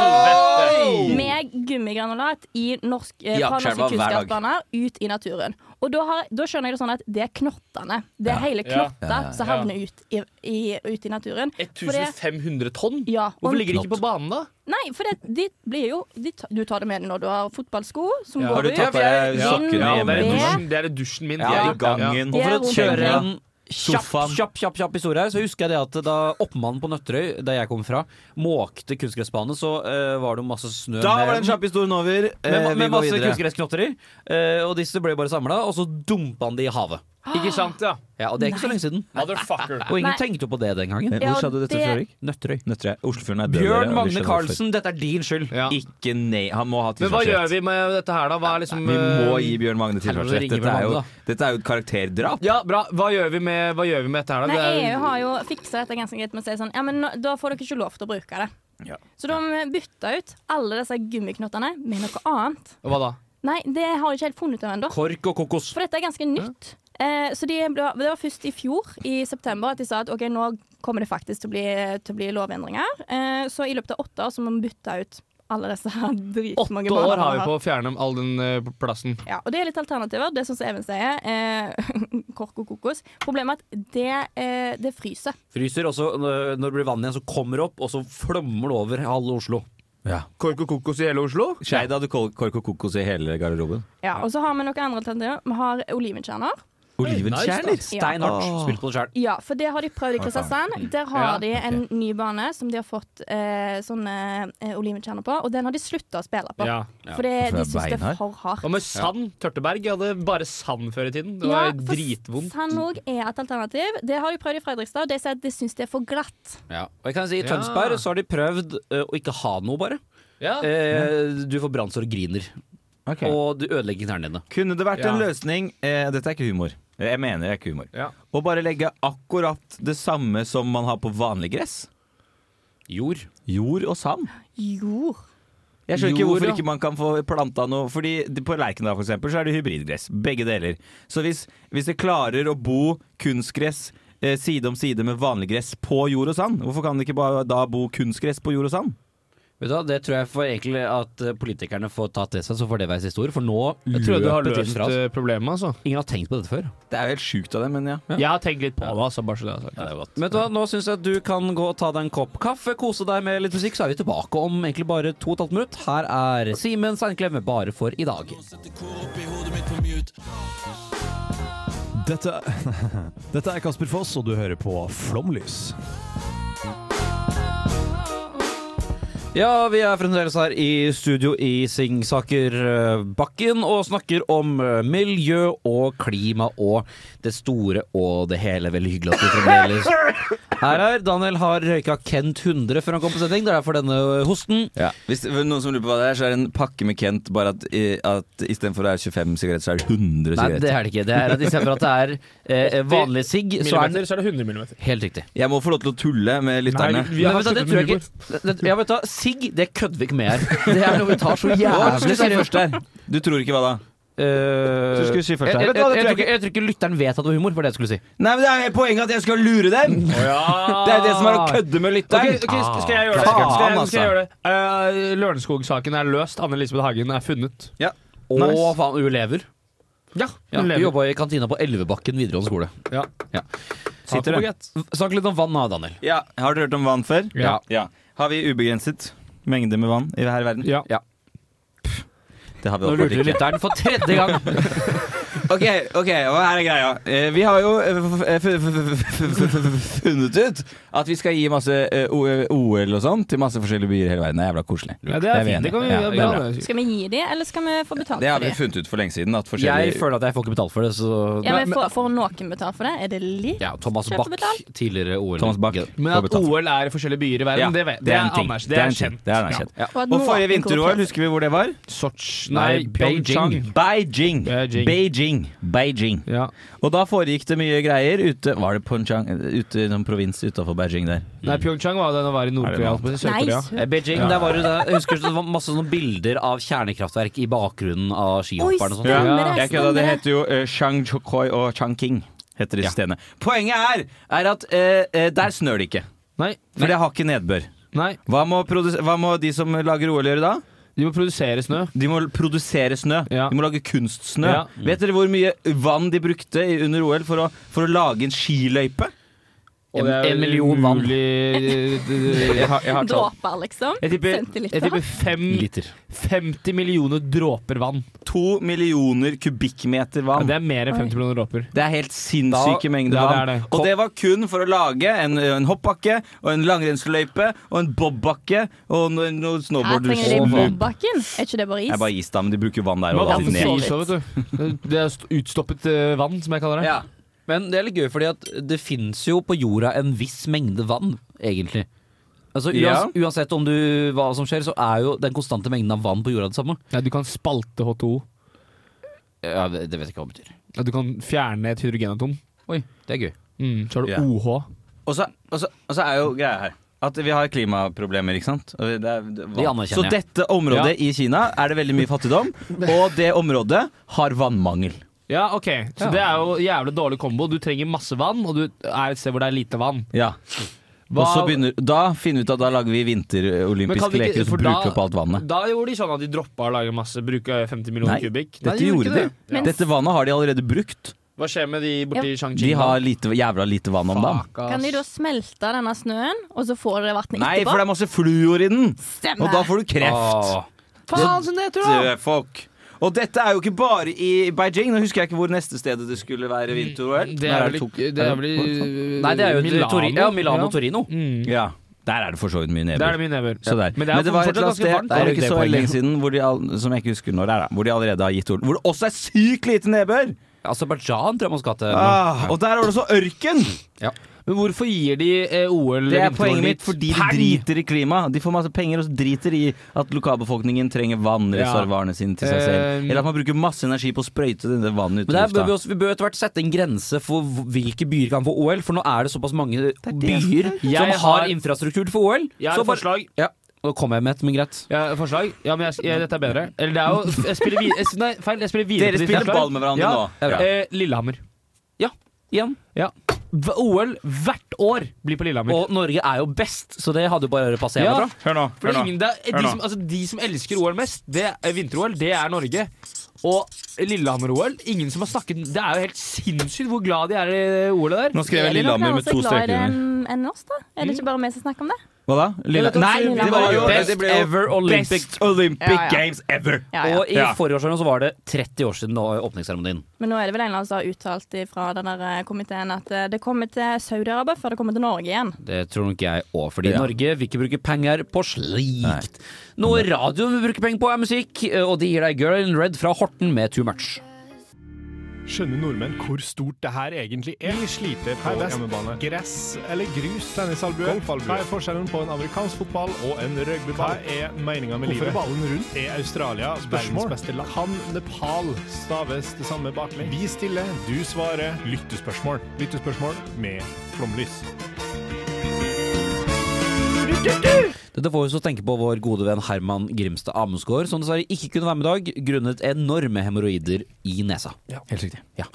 G: Helvete!
E: med gummigranulat i norsk, eh,
F: I
E: fra
F: Akerselva hver
E: norske
F: dag.
E: kunnskapsbaner ut i naturen. Og da, har, da skjønner jeg det sånn at det er knottene. Det er hele
G: Ja.
E: knotter som havner ut i, i, ut i naturen. For det-
G: 1500 tonn?
E: Ja, og,
G: Hvorfor ligger de ikke på banen, da?
E: nei, for det, de blir jo de, ta- Du tar det med deg når du har fotballsko som
G: Ja.
E: går
F: Har du
E: ut.
F: tatt på deg
E: Ja.
F: sokkene
E: Ja,
F: hjemme?
E: det-
F: eller noe?
G: Det er i dusjen min.
F: Ja,
G: de
F: i
G: er- Ja.
F: gangen.
D: Og for å
E: Det er
D: kjøre
E: rolig.
D: en kjapp,
F: Sofaen.
D: kjapp, kjapp, kjapp historie her, så husker jeg det at da oppmannen på Nøtterøy, der jeg kom fra, måkte kunstgressbane, så eh, var det jo masse snø
F: Da
D: med-
F: var den kjappe historien over. Eh,
D: med,
F: vi
D: med
F: går
D: masse
F: videre.
D: kunstgressknotter i. eh, og disse ble bare samla, og så dumpa han de i havet.
G: Ikke sant, ja.
D: Ja, Og det er ikke så lenge siden.
G: Motherfucker.
D: Og ingen
E: Nei.
D: tenkte jo på det den gangen.
F: Eh,
E: Ja,
F: Hvor sa du dette
E: det-
F: fra, Erik?
D: Nøtterøy.
F: Nøtterøy. Oslofjorden er død, dere,
D: Bjørn
F: og vi
D: Magne
F: skjønner hvorfor.
D: Carlsen, dette er din skyld.
G: Ja.
F: Ikke nei. Han må ha
G: Men hva gjør
F: tilsvarsrett.
G: vi med dette her, da? Hva er liksom
F: Vi må
G: eh,
F: gi Bjørn Magne
D: Helvete,
F: tilsvarsrett.
D: ringer
F: Dette er
D: Bjørn
F: jo,
D: Magne,
F: dette er jo et karakterdrap.
G: Ja, bra. Hva gjør vi med, hva gjør vi med dette her, da?
E: Nei,
G: Det er-
E: EU har jo fiksa dette ganske greit med å si sånn Ja, men nå- da får dere ikke lov til å bruke det.
F: Ja.
E: Så da må vi bytte ut alle disse gummiknottene med noe annet.
G: Hva da?
E: Nei, det har jeg ikke helt funnet ut av ennå.
D: Kork og kokos.
E: For dette er ganske nytt. Eh, så de ble, Det var først i fjor, i september, at de sa at OK, nå kommer det faktisk til å bli, til å bli lovendringer. Eh, så i løpet av åtte år så må vi bytte ut alle disse her dritmange
G: Åtte år
E: barna
G: har vi på å fjerne all den eh, plassen.
E: Ja, og det er litt alternativer. Det er sånn som Even sier. Eh, kork og kokos. Problemet er at det, eh, det fryser.
D: Fryser, og så eh, når det blir vann igjen, så kommer det opp, og så flommer det over halve Oslo.
G: Kork og kokos i hele Oslo?
F: Skeid hadde kol- kork og kokos i hele garderoben.
E: Ja, Og så har vi noen andre alternativer. Vi har olivenkjerner.
F: Olivenkjerner!
D: Stein hardt. Spilt på det sjøl.
E: Ja, for det har de prøvd i Kristiansand. Der har
G: Ja,
E: de en ny bane som de har fått eh, sånne eh, olivenkjerner på, og den har de slutta å spille på.
G: Ja.
E: For det,
F: For det er
E: de syns det
F: beinhard.
E: er for hardt.
G: Hva med sand? Tørteberg Jeg hadde bare sand før i tiden. Det
E: Ja,
G: var
E: for
G: dritvondt.
E: Sand òg er et alternativ. Det har de prøvd i Fredrikstad, og de sier at de syns det er for glatt.
D: Ja. Og jeg kan si, I
G: Ja.
D: Tønsberg så har de prøvd eh, å ikke ha noe, bare.
G: Ja.
D: Eh, du får brannsår og griner.
F: Ok.
D: Og du ødelegger knærne dine.
F: Kunne det vært
G: Ja.
F: en løsning eh, Dette er ikke humor. Jeg mener det er ikke humor.
G: Ja.
F: Å bare legge akkurat det samme som man har på vanlig gress.
D: Jord.
F: Jord og sand.
E: Jord.
F: Jeg skjønner ikke
G: Jord,
F: hvorfor
G: ja.
F: ikke man kan få planta noe Fordi det- på Lerkendal for eksempel, så er det hybridgress. Begge deler. Så hvis, hvis det klarer å bo kunstgress eh, side om side med vanlig gress på jord og sand, hvorfor kan det ikke bare da bo kunstgress på jord og sand?
D: Vet du hva, Det tror jeg får egentlig at eh, politikerne får tatt til seg, så får det være siste ord. For nå
G: Jeg tror du har
D: løper ting
G: løst
D: fra oss.
G: eh, problemet, altså.
D: Ingen har tenkt på dette før.
F: Det er jo helt sjukt av dem, men ja.
G: Jeg har tenkt litt på det, altså. Bare så det er sagt.
D: Vet du hva, Nå syns jeg at du kan gå og ta deg en kopp kaffe, kose deg med litt musikk, så er vi tilbake om egentlig bare to og et halvt minutt. Her er Simen Seinklem med Bare for i dag.
K: Dette, dette er Kasper Foss, og du hører på Flomlys.
D: Ja, vi er fremdeles her i studio i Singsakerbakken og snakker om eh, miljø og klima og det store og det hele. Veldig hyggelig at du fremdeles er her. Daniel har røyka Kent 100 før han kom på sending. Det er derfor denne eh, hosten.
F: Ja. Hvis det er noen som lurer på hva det er, så er det en pakke med Kent, bare at, i- at istedenfor å være 25 sigaretter, så er det 100
D: Nei,
F: sigaretter.
D: det er det ikke. Det er at Istedenfor at det er eh, vanlig sigg, så er den
G: Millimeter, så er det 100 millimeter.
D: Helt riktig.
F: Jeg må få lov til å tulle med lytterne.
G: vi
D: Men vet du, det tror jeg ikke det, det- Ja, vet du, hva, Sigg, det kødder vi ikke med her. Det er noe vi tar så jævlig seriøst.
F: Du tror ikke hva da?
D: Eh,
F: Så skulle du si først her.
D: jeg, jeg,
F: Vet du hva, det tror
D: jeg,
F: jeg
D: tror ikke- jeg tror ikke lytteren vet at det var humor, for det jeg skulle si.
F: Nei, men Det er jo poenget at jeg skal lure dem! Det er det som er å kødde med lytteren.
G: Ok, ok, skal jeg gjøre det?
F: Faen,
G: Skal jeg, skal jeg
F: altså.
G: gjøre det? Eh, Lørenskog-saken er løst. Anne Elisabeth Hagen er funnet.
D: Å,
F: Nice.
D: faen, hun lever.
G: Ja,
D: Ja,
G: hun
D: hun
G: lever.
D: jobba i kantina på Elvebakken videregående skole.
G: Ja.
D: Ja.
G: Sitter
F: det.
G: det.
D: Snakk litt om vann da, Daniel.
F: Ja, Har dere hørt om vann før?
G: Ja.
F: ja. Har vi ubegrenset mengde med vann i her i verden?
G: Ja.
F: Det har vi
D: Nå lurte du
F: åpenbart ikke.
D: lytteren for tredje gang.
F: Ok, ok, og her er greia. Eh, Vi har jo eh, f- f- f- f- f- f- f- funnet ut at vi skal gi masse eh, O- eh, OL og sånn til masse forskjellige byer i hele verden. Det er jævla koselig.
G: Ja, det er
F: vi
G: fint.
F: enige.
G: Det kan vi
F: Ja,
G: det er
F: det er
G: bra.
F: bra.
G: det.
E: Skal vi gi de, eller skal vi få betalt
F: Det har
E: for
F: vi
E: de?
F: funnet ut for lenge siden. At
D: Jeg
F: forskjellige
D: føler at jeg får ikke betalt for det, så
E: Ja, men får, får noen betalt for det? Er det litt?
D: ja, Thomas
E: Kjøper
D: Bach,
E: betalt.
D: tidligere Eh, OL.
F: Thomas Bach
G: Men
F: får
G: at
F: betalt.
G: OL er i forskjellige byer i verden,
F: Ja,
G: det, vet,
F: det er en ting.
G: anerkjent.
F: Det er en ting.
G: kjent.
F: Det er anerkjent.
G: Ja.
E: at
F: Og
E: noen
F: forrige vinter-OL,
E: korrupsjon-
F: husker vi hvor det var?
G: Sotsj Nei,
D: Beijing.
G: Beijing.
F: Beijing.
G: Beijing.
F: Beijing. Beijing.
G: Ja.
F: Og da foregikk det mye greier ute Var det Ponchang? Ute i noen provins utafor Beijing der.
G: Nei, Pyeongchang var den å være i Nord-Korea.
F: Er det noe
G: Sør-Korea.
E: Nice.
D: Eh, Beijing, der var det, jeg husker det var masse sånne bilder av kjernekraftverk i bakgrunnen av
E: Oi,
D: skihopperne og sånn. sånt.
E: stemmer det!
G: Ja.
F: Jeg kødda, det
E: Stemmer det.
F: heter jo uh, Changchokoi og Changking. Heter disse stedene. Poenget er, er at eh, eh, der snør det ikke.
G: Nei.
F: For det har ikke nedbør. Hva, må produs- hva må de som lager OL gjøre da?
G: De må produsere snø.
F: De må produsere snø. De må lage kunstsnø.
G: Ja.
F: Vet dere hvor mye vann de brukte i- under OL for å, for å lage en skiløype?
G: Og det er vel
F: En million vann.
G: Jeg har- jeg har tall.
E: Dråper, liksom.
G: Jeg tipper,
E: Centiliter.
G: jeg tipper fem,
D: Mm.
G: 50 millioner dråper vann.
F: To millioner kubikkmeter vann.
G: det er mer enn 50 millioner dråper.
F: Det er helt sinnssyke
G: Da-
F: mengder
G: Ja, det er
F: vann.
G: det.
F: Og det var kun for å lage en, en hoppbakke og en langrennsløype og en bobbakke og no- noe
E: Her
F: snowboard.
E: trenger de
F: Og-
E: bobbakken. Er ikke det bare
F: Det er
E: is?
F: bare is, da, men de bruker vann der.
G: Men
F: og
G: vann
F: vann
G: for
F: ned.
G: så vidt, vet du. Det er st- utstoppet eh, vann, som jeg kaller det.
D: Ja. Men det er litt gøy, fordi at det fins jo på jorda en viss mengde vann, egentlig. Altså,
F: Ja.
D: uans Uansett om du, hva som skjer, så er jo den konstante mengden av vann på jorda det samme.
G: Ja, du kan spalte H2O.
D: Ja, det, det vet jeg ikke hva det betyr.
G: Ja, du kan fjerne et hydrogenatom.
D: Oi, det er gøy.
G: Mm, så har du
F: Ja.
G: OH.
F: Og så, og, så, og så er jo greia her at vi har klimaproblemer, ikke sant? Og det er, det,
D: Det anerkjenner
F: så
D: jeg.
F: dette området i Kina er det veldig mye fattigdom, og det området har vannmangel.
G: Ja, ok. Så det er jo jævlig dårlig kombo. Du trenger masse vann, og du er et sted hvor det er lite vann.
F: Ja. Og så begynner, da finner vi ut at da lager vi vinterolympiske leker og så bruker vi opp alt vannet.
G: Da gjorde de sånn at de droppa å lage masse, bruke 50 millioner
F: Nei,
G: kubikk.
F: dette gjorde de.
E: Men-
F: Dette vannet har de allerede brukt.
G: Hva skjer med de borti Shang-Chi?
F: De har lite, jævla lite vann om dagen.
E: Kan de da smelte denne snøen, og så får dere vannet
F: Nei, for
E: etterpå?
F: det er masse fluor i den!
E: Stemmer.
F: Og da får du kreft.
G: Faen som det heter, da!
F: Døde folk. Og dette er jo ikke bare i Beijing. Nå husker jeg ikke hvor neste stedet det skulle være vinter-OL.
G: Det
F: Nei,
G: er vel
F: Tok-
G: ikke Det er vel i
D: Nei, det er jo
G: Milano.
D: Milano, Tori ja, Milano og Torino.
G: Mm.
F: Ja. Der er det for så vidt mye
G: Der
F: nedbør.
G: er det mye nedbør.
F: Så der.
G: Men det
F: var et
G: er fortsatt
F: eller annet
G: ganske
F: sted
G: varmt, da.
F: det er
G: Det
F: ikke
G: er
F: så
G: det
F: lenge
G: poenget.
F: siden hvor de, all, som jeg ikke husker når det er, da, hvor de allerede har gitt ord. Hvor det også er sykt lite nedbør!
D: Aserbajdsjan tror jeg man skal til. nå.
F: Ah, og der er det også ørken!
G: Men hvorfor gir de eh, OL
F: Det er
G: vinterolympisk
F: poenget mitt, fordi de
G: peng?
F: driter i klima. De får masse penger og så driter de i at lokalbefolkningen trenger vannreservoarene sine til seg selv.
G: Eh,
F: Eller at man bruker masse energi på å sprøyte denne vannet ut
D: Men
F: i
D: der bør vi,
F: lufta.
D: også, vi bør etter hvert sette en grense for hv- hvilke byer kan få OL, for nå er det såpass mange byer som
G: Jeg har-
D: har infrastruktur for OL.
G: Jeg har
D: så
G: et
D: bare-
G: forslag.
D: Ja, Nå kom jeg med et, men greit.
G: Ja, forslag? Ja, men jeg, jeg, dette er bedre. Eller det er jo Jeg spiller videre Nei, feil. Jeg spiller videre
F: Dere
G: på ditt
F: spiller
G: forslag.
F: ball med hverandre
G: ja.
F: nå.
G: Ja.
F: Ja.
G: Eh, Lillehammer.
D: Igjen.
G: Ja. V- OL hvert år blir på Lillehammer.
D: Og Norge er jo best, så det hadde jo bare å passe
G: Ja.
D: hjemmefra.
F: Hør nå.
G: For det er ingen, det er, de, som, altså, de som elsker OL mest, det er vinter-OL, det er Norge. Og Lillehammer-OL Ingen som har snakket Det er jo helt sinnssykt hvor glad de er i OL-et der.
F: Nå skrev jeg Lillehammer med to streker Mm.
E: under.
F: under.
E: Enn oss, da? Er det ikke bare vi som snakker om det?
F: Hva da? Lille... Nei,
E: Lillehammer.
F: det var jo
D: Best
F: det ble jo
D: ever Olympic.
F: Best Olympic
E: Ja, ja.
F: Games ever!
E: Ja, ja.
D: Og i forrige årsåren så var det 30 år siden å- åpningsseremonien.
E: Men nå er det vel en eller annen som har uttalt fra den der eh, komiteen at eh, det kommer til Saudi-Arabia før det kommer til Norge igjen.
D: Det tror nok jeg òg, fordi
F: Ja.
D: Norge vil ikke bruke penger på slikt. Noe radioen vil bruke penger på, er musikk, og de gir deg Girl in Red fra Horten med Too Much.
L: Skjønner nordmenn hvor stort det her egentlig er? Vi sliter på hjemmebane. Gress eller grus? Tennisalbue. Hva er forskjellen på en amerikansk fotball og en rugbyball? Hva er meninga med livet? Hvorfor er ballen rundt? Er Australia verdens beste land? Kan Nepal staves det samme baklengs? Vi stiller, du svarer. Lyttespørsmål. Lyttespørsmål med flomlys.
D: Dette får oss til å tenke på vår gode venn Herman Grimstad Amundsgaard, som dessverre ikke kunne være med i dag grunnet enorme hemoroider i nesa. Helt riktig. Ja.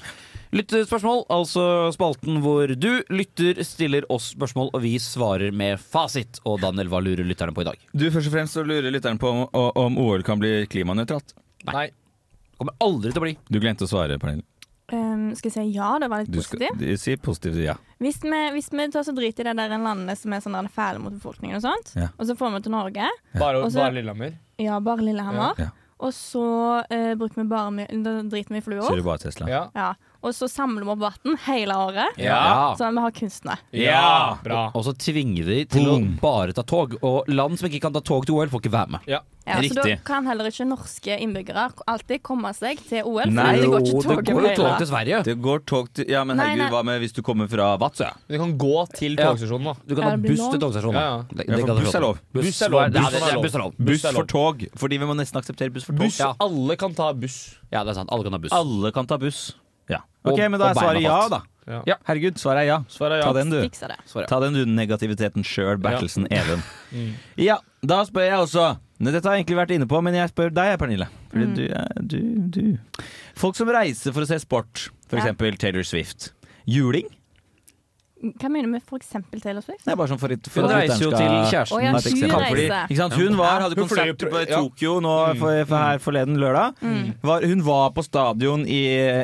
D: Lyttespørsmål, altså spalten hvor du lytter, stiller oss spørsmål, og vi svarer med fasit. Og Daniel, hva lurer lytterne på i dag?
F: Du, først og fremst så lurer lytteren på om, om OL kan bli klimanøytralt.
D: Nei. Kommer aldri til å bli.
F: Du glemte å svare, Pernille.
E: Ehm, skal jeg si ja, det var litt
F: Du skal,
E: positivt.
F: si positivt ja.
E: Hvis vi, hvis vi tar så drit i det der landene som er sånn der fæle mot befolkningen og sånt,
F: Ja.
E: og så får vi til Norge,
G: Bare,
E: Og så-
G: bare Lillehammer.
E: ja, bare Lillehammer,
F: Ja. Ja.
E: og så eh, bruker vi bare mye- da driter vi i fluor,
F: Kjører bare Tesla.
G: Ja.
E: ja. og så samler vi opp vann hele året,
G: Ja.
E: sånn at vi har kunstner.
F: Ja.
G: Bra.
D: Og så tvinger vi til
F: Boom.
D: å bare ta tog. Og land som ikke kan ta tog til OL, får ikke være med.
G: Ja.
E: Ja, så da
F: Riktig.
E: kan heller ikke norske innbyggere alltid komme seg til OL,
F: Nei,
E: fordi det går
D: jo,
E: ikke
D: det
E: toget
D: går
E: over
D: jo tog
E: hele.
D: til Sverige.
F: Det går tog til Ja, men
E: Nei,
F: herregud,
E: nei.
F: hva med hvis du kommer fra Vadsø?
G: Du kan gå til
D: Ja.
G: togstasjonen, da.
D: Du kan
E: Ja,
D: ta
E: det blir
D: buss til
E: langt.
D: togstasjonen.
G: Ja, ja.
D: Det-
F: Ja,
D: det
F: for
D: kan du
F: buss
D: få
F: er
D: til.
F: lov.
G: Buss er lov.
D: Ja, det-
G: Buss er
D: det er
G: lov.
D: buss er lov.
F: Buss
G: er lov.
F: for tog, fordi vi må nesten akseptere buss for tog.
G: Buss. Alle kan ta buss.
D: Ja, det er sant. Alle kan ha buss.
F: Alle kan ta buss. Ja. Ok,
D: Og-
F: men da
D: og
F: er
D: beina
F: svaret ja,
D: fast.
F: da.
G: Ja.
F: Herregud, svaret er ja.
G: Svaret er
F: Ta
G: ja.
F: den, du.
E: Fikser det.
F: Ta den, du, negativiteten sjøl, Bertelsen Even. Mm. Ja, da spør jeg også. Nei, Dette har jeg egentlig vært inne på, men jeg spør deg, Pernille.
D: Mm.
F: Fordi du, er- du, du Folk som reiser for å se sport,
E: Ja.
F: f.eks. eksempel Taylor Swift. Juling?
E: Hva mener du med for eksempel Taylor Swift?
F: Det er bare sånn for, for
D: Hun
F: at
D: reiser jo
F: lytteren
D: til
F: skal-
D: kjæresten.
E: Å ja,
F: Nei, for eksempel.
E: hun
F: Fordi,
E: reiser.
F: ikke sant? Hun var, hadde
L: Hun fløy
F: konsert på
L: på- ja.
F: Tokyo nå for, for her forleden lørdag.
E: Mm.
F: Var, hun var på stadion i,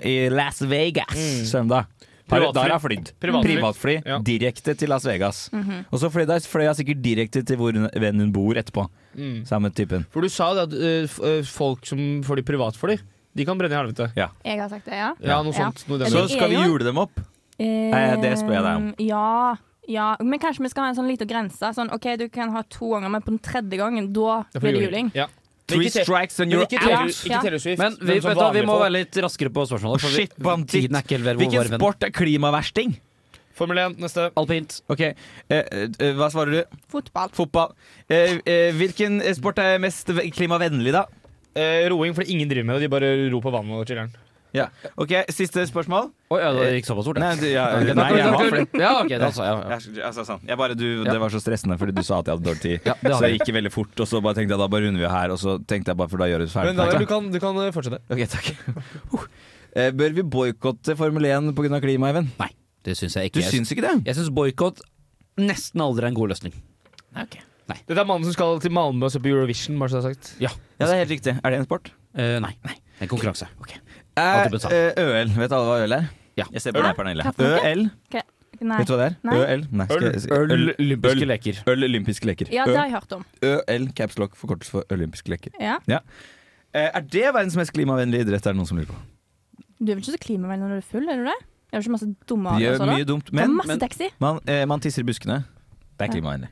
F: i Las Vegas søndag. Der
G: Privatfly.
F: der har jeg flydd.
G: Privatfly.
F: Privatfly
G: Ja.
F: direkte til Las Vegas.
G: Mhm.
F: Og så fløy jeg- fløy jeg sikkert direkte til hvor hun- vennen hun bor etterpå.
G: Mm.
F: Samme typen.
G: For du sa jo det at eh, f- eh, folk som får de privatfly, de kan brenne i helvete.
F: Ja.
E: Jeg har sagt det, ja.
G: Ja, noe sånt, noe i den
E: Men
F: Så
E: det
F: skal
E: er
F: vi
E: jo-
F: jule dem opp. Nei, det spør jeg deg om.
E: Eh, Ja, ja, men kanskje vi skal ha en sånn liten grense. Sånn, OK, du kan ha to ganger, men på den tredje gangen, da blir det juling.
G: Ja.
F: Three
G: Men ikke te-
F: strikes and
G: men
F: you're
G: ikke Taylor-
E: out.
G: Ikke Taylor Swift.
D: Men vi,
G: men som
D: vet du, hva, vi
G: vanlige
D: må
G: folk.
D: være litt raskere på spørsmålet. for vi-
F: Shit, banditt!
D: Tiden er ikke helt vel hvor
F: Hvilken
D: vår venn-
F: sport er klimaversting?
G: Formel 1, neste.
D: Alpint.
F: Ok, eh, eh, Hva svarer du?
E: Fotball.
F: Fotball. Eh, eh, hvilken sport er mest ve- klimavennlig, da?
G: Eh, roing, for ingen driver med det. De bare ror på vannet og chiller'n.
F: Ja. Ok, Siste spørsmål.
D: Oi, ja, det gikk såpass fort, ja.
F: Nei, du, ja,
D: Ok, da-
F: nei, jeg
D: da-
F: var flink.
D: Ja, ok, da sa jeg ja.
F: Jeg, altså, sånn. jeg bare, du, Det var så stressende fordi du sa at jeg hadde dårlig tid.
D: Ja, det
F: så
D: hadde
F: jeg gikk veldig fort, og så bare tenkte jeg da bare runder vi her. Og så tenkte jeg bare for da gjør vi det ferdig.
G: Men Daniel, du kan, du kan eh, fortsette.
F: Ok, takk Uh, eh, Bør vi boikotte Formel 1 pga. klimaet, Even?
D: Nei, det syns jeg
F: Du
D: ikke. Jeg-
F: syns ikke det?
D: Jeg syns boikott nesten aldri er en god løsning.
G: Dette er mannen som skal til Malmö og se på Eurovision, bare så det er sagt.
D: Ja,
F: Ja, det er helt riktig. Er det en sport?
D: Eh, nei. En konkurranse. Okay.
F: Eh,
D: Ja, du betaler.
F: eh, ØL. Vet alle hva ØL er?
D: Ja.
F: Jeg ser på deg, Pernille.
E: Hva for noe?
F: ØL,
E: Ok, Nei.
F: vet du hva det er?
E: Nei.
F: ØL. Nei, skal jeg- skal-
D: Øl, olympiske
F: øl-
D: leker.
F: Øl, olympiske leker.
E: Ja, det har jeg hørt om.
F: ØL, caps lock, forkortelse for olympiske leker.
E: Ja.
F: Eh, Er det verdens mest klimavennlige idrett, er det noen som lurer på?
E: Du er vel ikke så klimavennlig når du er full, er du det? Gjør du ikke masse dumme
F: De gjør
E: avgjørelser da?
F: mye dumt,
E: Ta
F: men
E: masse taxi.
F: man, eh, man tisser i buskene. Det er klimavennlig.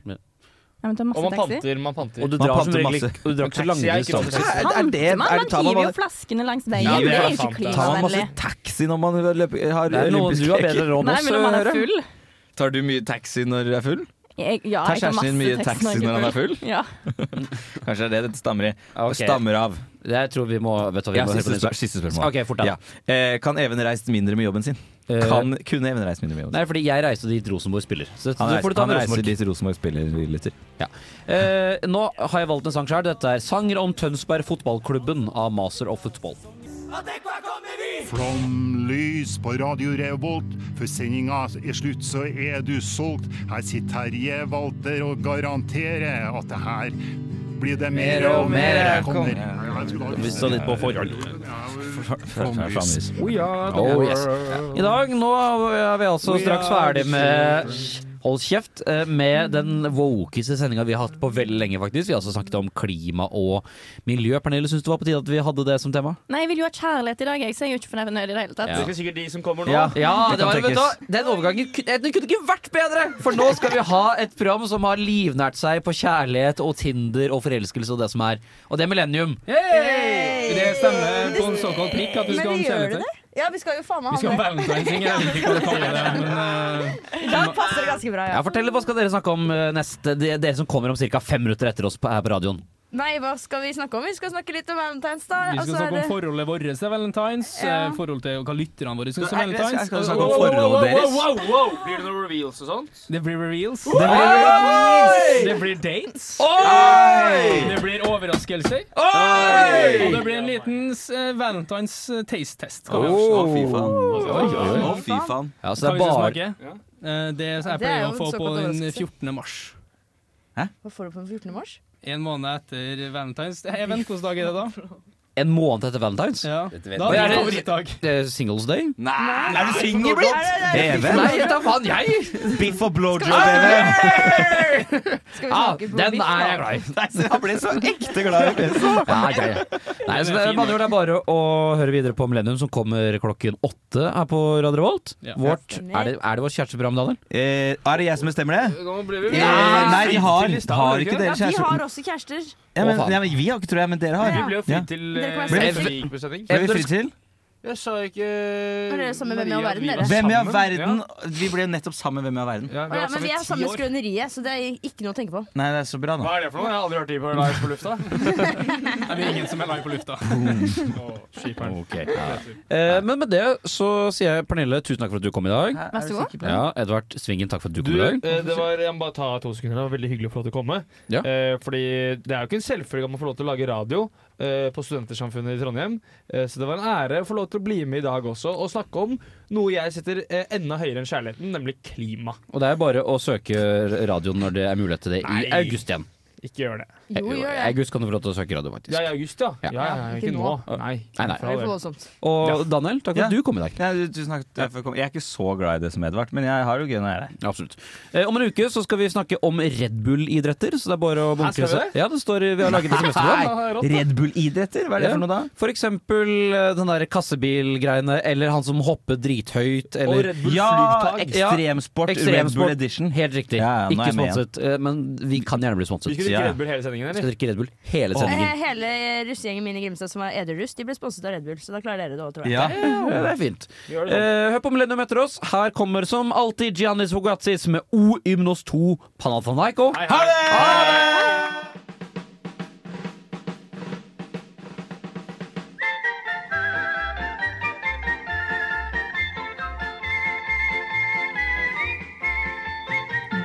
E: Ja, men ta masse
G: Og man
E: taxi.
G: panter. man panter
D: Og du
F: Man
D: drar som
F: panter
D: regel
F: masse.
D: ikke og du drar ikke så
G: Taxi er
D: lange
G: ikke noe
D: distanser.
F: Er,
G: for
F: er det,
E: Panter man?
F: er, tar, man
E: Man hiver jo
F: bare,
E: flaskene langs
G: Ja,
E: veien.
G: det
E: Det
G: er
E: er jo ikke
G: sant.
F: tar man masse
E: klimavennlig.
F: taxi når man løper, har
D: Det er noe
F: olympiske
D: du har bedre
F: leker?
D: råd enn
E: Nei,
D: oss.
E: men når man er
D: Hører.
E: full
F: Tar du mye taxi når du er full?
E: jeg, Ja,
F: Tar
E: jeg tar
F: kjæresten
E: masse
F: din mye taxi
E: taxi jeg
F: når han er
E: ikke
F: full?
E: Ja.
F: Kanskje det er det dette stammer i.
D: Ok.
F: Stammer av.
D: Jeg tror vi må Vet du hva, vi
F: Ja,
D: må høre på
F: siste,
D: nytt.
F: spør siste spørsmål.
D: Ok, fort da.
F: Ja. Eh, kan Even reist mindre med jobben sin?
D: Eh,
F: Kan, kunne Even reist mindre med jobben sin?
D: Nei, fordi jeg reiste dit Rosenborg spiller.
F: Han,
D: Så du får
F: reiser,
D: du ta
F: han
D: med
F: reiser
D: Rosenborg.
F: dit Rosenborg spiller, vi lytter.
D: Eh, nå har jeg valgt en sang sjøl. Dette er 'Sanger om Tønsberg Fotballklubben' av Master of Football.
M: Flomlys på Radio Revolt, for sendinga er slutt, så er du solgt. Her sitter Terje Walter og garanterer at det her blir det mer og mer. Kommer.
D: Vi står litt på forhold.
F: Flomlys.
D: Oh, yes. I dag nå er vi altså straks ferdig med Hold kjeft eh, med den wokeste sendinga vi har hatt på veldig lenge, faktisk. Vi har altså snakket om klima og miljø. Pernille, syns du det var på tide at vi hadde det som tema?
E: Nei, jeg vil jo ha kjærlighet i dag, jeg, så jeg er jo ikke fornøyd i det hele tatt.
D: Ja.
G: Det skal sikkert de som kommer nå.
F: Ja.
D: Ja,
F: Det
D: det
F: kan
D: var, vet du, hva,
F: tenkes.
D: den overgangen ku- eh, den kunne ikke vært bedre! For nå skal vi ha et program som har livnært seg på kjærlighet og Tinder og forelskelse og det som er. Og det er Millennium.
N: Det stemmer på en såkalt prikk at vi skal ha en kjærlighetstrekk.
E: Ja, vi skal jo faen
N: Vi
E: meg
N: skal ha en valentinesing, jeg vet ikke hva du kaller det. Men eh.
E: I dag passer det ganske bra,
D: Ja, fortell, Hva skal dere snakke om eh, neste? de- Dere som kommer om ca. fem minutter etter oss på, her på radioen.
E: Nei, hva skal vi snakke om? Vi skal snakke litt om Valentine's, da.
N: eh, vi
D: Altså,
N: skal snakke om forholdet vårt til valentines,
E: Ja.
N: eh, forhold til hva lytterne våre syns om
F: Jeg- jeg- jeg
N: valentines.
F: skal snakke om forholdet deres.
G: Blir det noen reveals og sånt?
N: Det blir reveals.
F: Det blir reveals.
N: Det blir dates.
F: Oi!
N: Det blir overraskelser.
F: Oi!
N: Og det blir en liten eh, valentines eh, taste test.
F: Å, fy faen. Å, fy faen.
D: Ja,
N: Hva
D: så det
N: vi skal
D: er bare
N: smake? Eh, Det er så jeg
O: Det er
N: pleier å
O: jo
N: få
O: en
N: på
O: såkalt
N: den
O: overraskelse.
N: 14. mars.
O: Hva får du på den 14. mars?
N: En måned etter valentines. Eh, Even, hvilken dag er det da?
D: En måned etter Valentine's?
N: Ja.
D: vet
N: Da er
D: jeg.
N: det
D: Oi, er det-
N: favorittdag.
D: Eh, Singles Day?
F: Nei, er du singel blitt? Even?
D: Nei, jeg tar faen jeg!
F: Biff og blowjob, Even.
O: Skal vi
D: Ja,
O: snakke på
D: Ah, den
O: biff,
D: er jeg
O: da?
D: glad i.
F: Nei, så Jeg ble så ekte glad i fjeset.
D: Ja, ja, ja. Nei, så det, er- med andre ord, det er bare å høre videre på Millennium, som kommer klokken åtte her på Radio Revolt.
N: Ja.
D: Vårt, er, det, er det vårt kjæresteprogram, Daniel?
F: Eh, er det jeg som bestemmer det?
G: Nå blir vi
F: Eh, nei, de har, har ikke
O: Ja,
F: dere
O: vi
F: kjæreste?
O: har også kjærester.
F: Ja, men,
D: Å, faen.
F: ja, men vi har ikke, tror jeg, men dere har.
G: Vi ble jo
F: Ja.
G: fri til
O: Dere
G: eh,
O: kan
F: Ble
G: fri
F: vi fri-
G: utbesending.
F: Ble vi fri til?
G: Jeg sa ikke
O: Var dere sammen med
G: Maria,
O: Hvem i all verden,
G: vi var
O: dere?
F: Hvem i all
G: sammen.
F: verden? Vi ble nettopp sammen Hvem i all verden.
O: Å,
G: Ja,
O: ja, men vi er
G: sammen i
O: samme
G: ti år.
O: skrøneriet, så det er ikke noe å tenke på.
F: Nei, det er så bra, da.
G: Hva er det for noe? Jeg har aldri hørt de på live på lufta.
N: Nei, vi er ingen som er live på lufta.
F: Ok. Ja.
D: Eh, men med det så sier jeg Pernille, tusen takk for at du kom i dag.
F: Er
E: Vær så
F: du
E: god.
F: sikker på det?
D: Ja, Edvard Svingen, takk for at du
G: Du,
D: kom i dag.
G: eh, det var, jeg må bare ta to sekunder. Det var veldig hyggelig å få lov til å komme.
D: Ja.
G: Eh, fordi det er jo ikke en selvfølge at man får lov til å lage radio eh, på Studentersamfunnet i Trondheim. Eh, så det var en ære å få lov til å bli med i dag også og snakke om noe jeg setter eh, enda høyere enn kjærligheten, nemlig klima.
D: Og det er bare å søke radioen når det er mulighet til det i
G: Nei.
D: august igjen.
G: Ikke gjør det.
D: Jo,
G: gjør det.
D: I august kan du få lov til å søke radio, faktisk.
G: Ja, i august, ja. Ja, ja, ja, ikke nå. Nei.
D: Nei, nei.
G: Det er for voldsomt.
D: Og Daniel, takk for at du kom i dag.
F: Ja, du- tusen takk for at jeg kom. Jeg er ikke så glad i det som Edvard, men jeg har det jo gøy når jeg er
D: her. Absolutt. Eh, om en uke så skal vi snakke om Red Bull-idretter, så det er bare å
F: skal
D: bunkre
F: vi
D: seg. Ja, det står, i- vi har laget det
F: Nei,
D: semesterbord.
F: Red Bull-idretter? Hva er det for noe da?
D: For eksempel eh, den der kassebilgreiene, eller han som hopper drithøyt, eller
F: Og Red Bull Ja, flygtak. ekstremsport,
D: Ja,
F: Red Bull edition.
D: Helt riktig.
F: Ja, ja, nå er
D: Ikke
F: jeg med igjen.
D: sponset, eh, men vi kan gjerne bli sponset.
G: Vi skal drikke
D: Ja.
G: Red Bull hele sendingen, eller?
D: Skal drikke Red Bull hele sendingen.
O: Eh, Hele russegjengen min i Grimstad som var edruss, de ble sponset av Red Bull, så da klarer dere det òg, tror jeg.
D: Ja, det er fint.
O: Gjør
G: sånn.
O: det
D: Eh, hør på Millennium etter oss. Her kommer som alltid Giannis Hogatsis med O Ymnos 2 Panathanaiko. Eh, Ha det!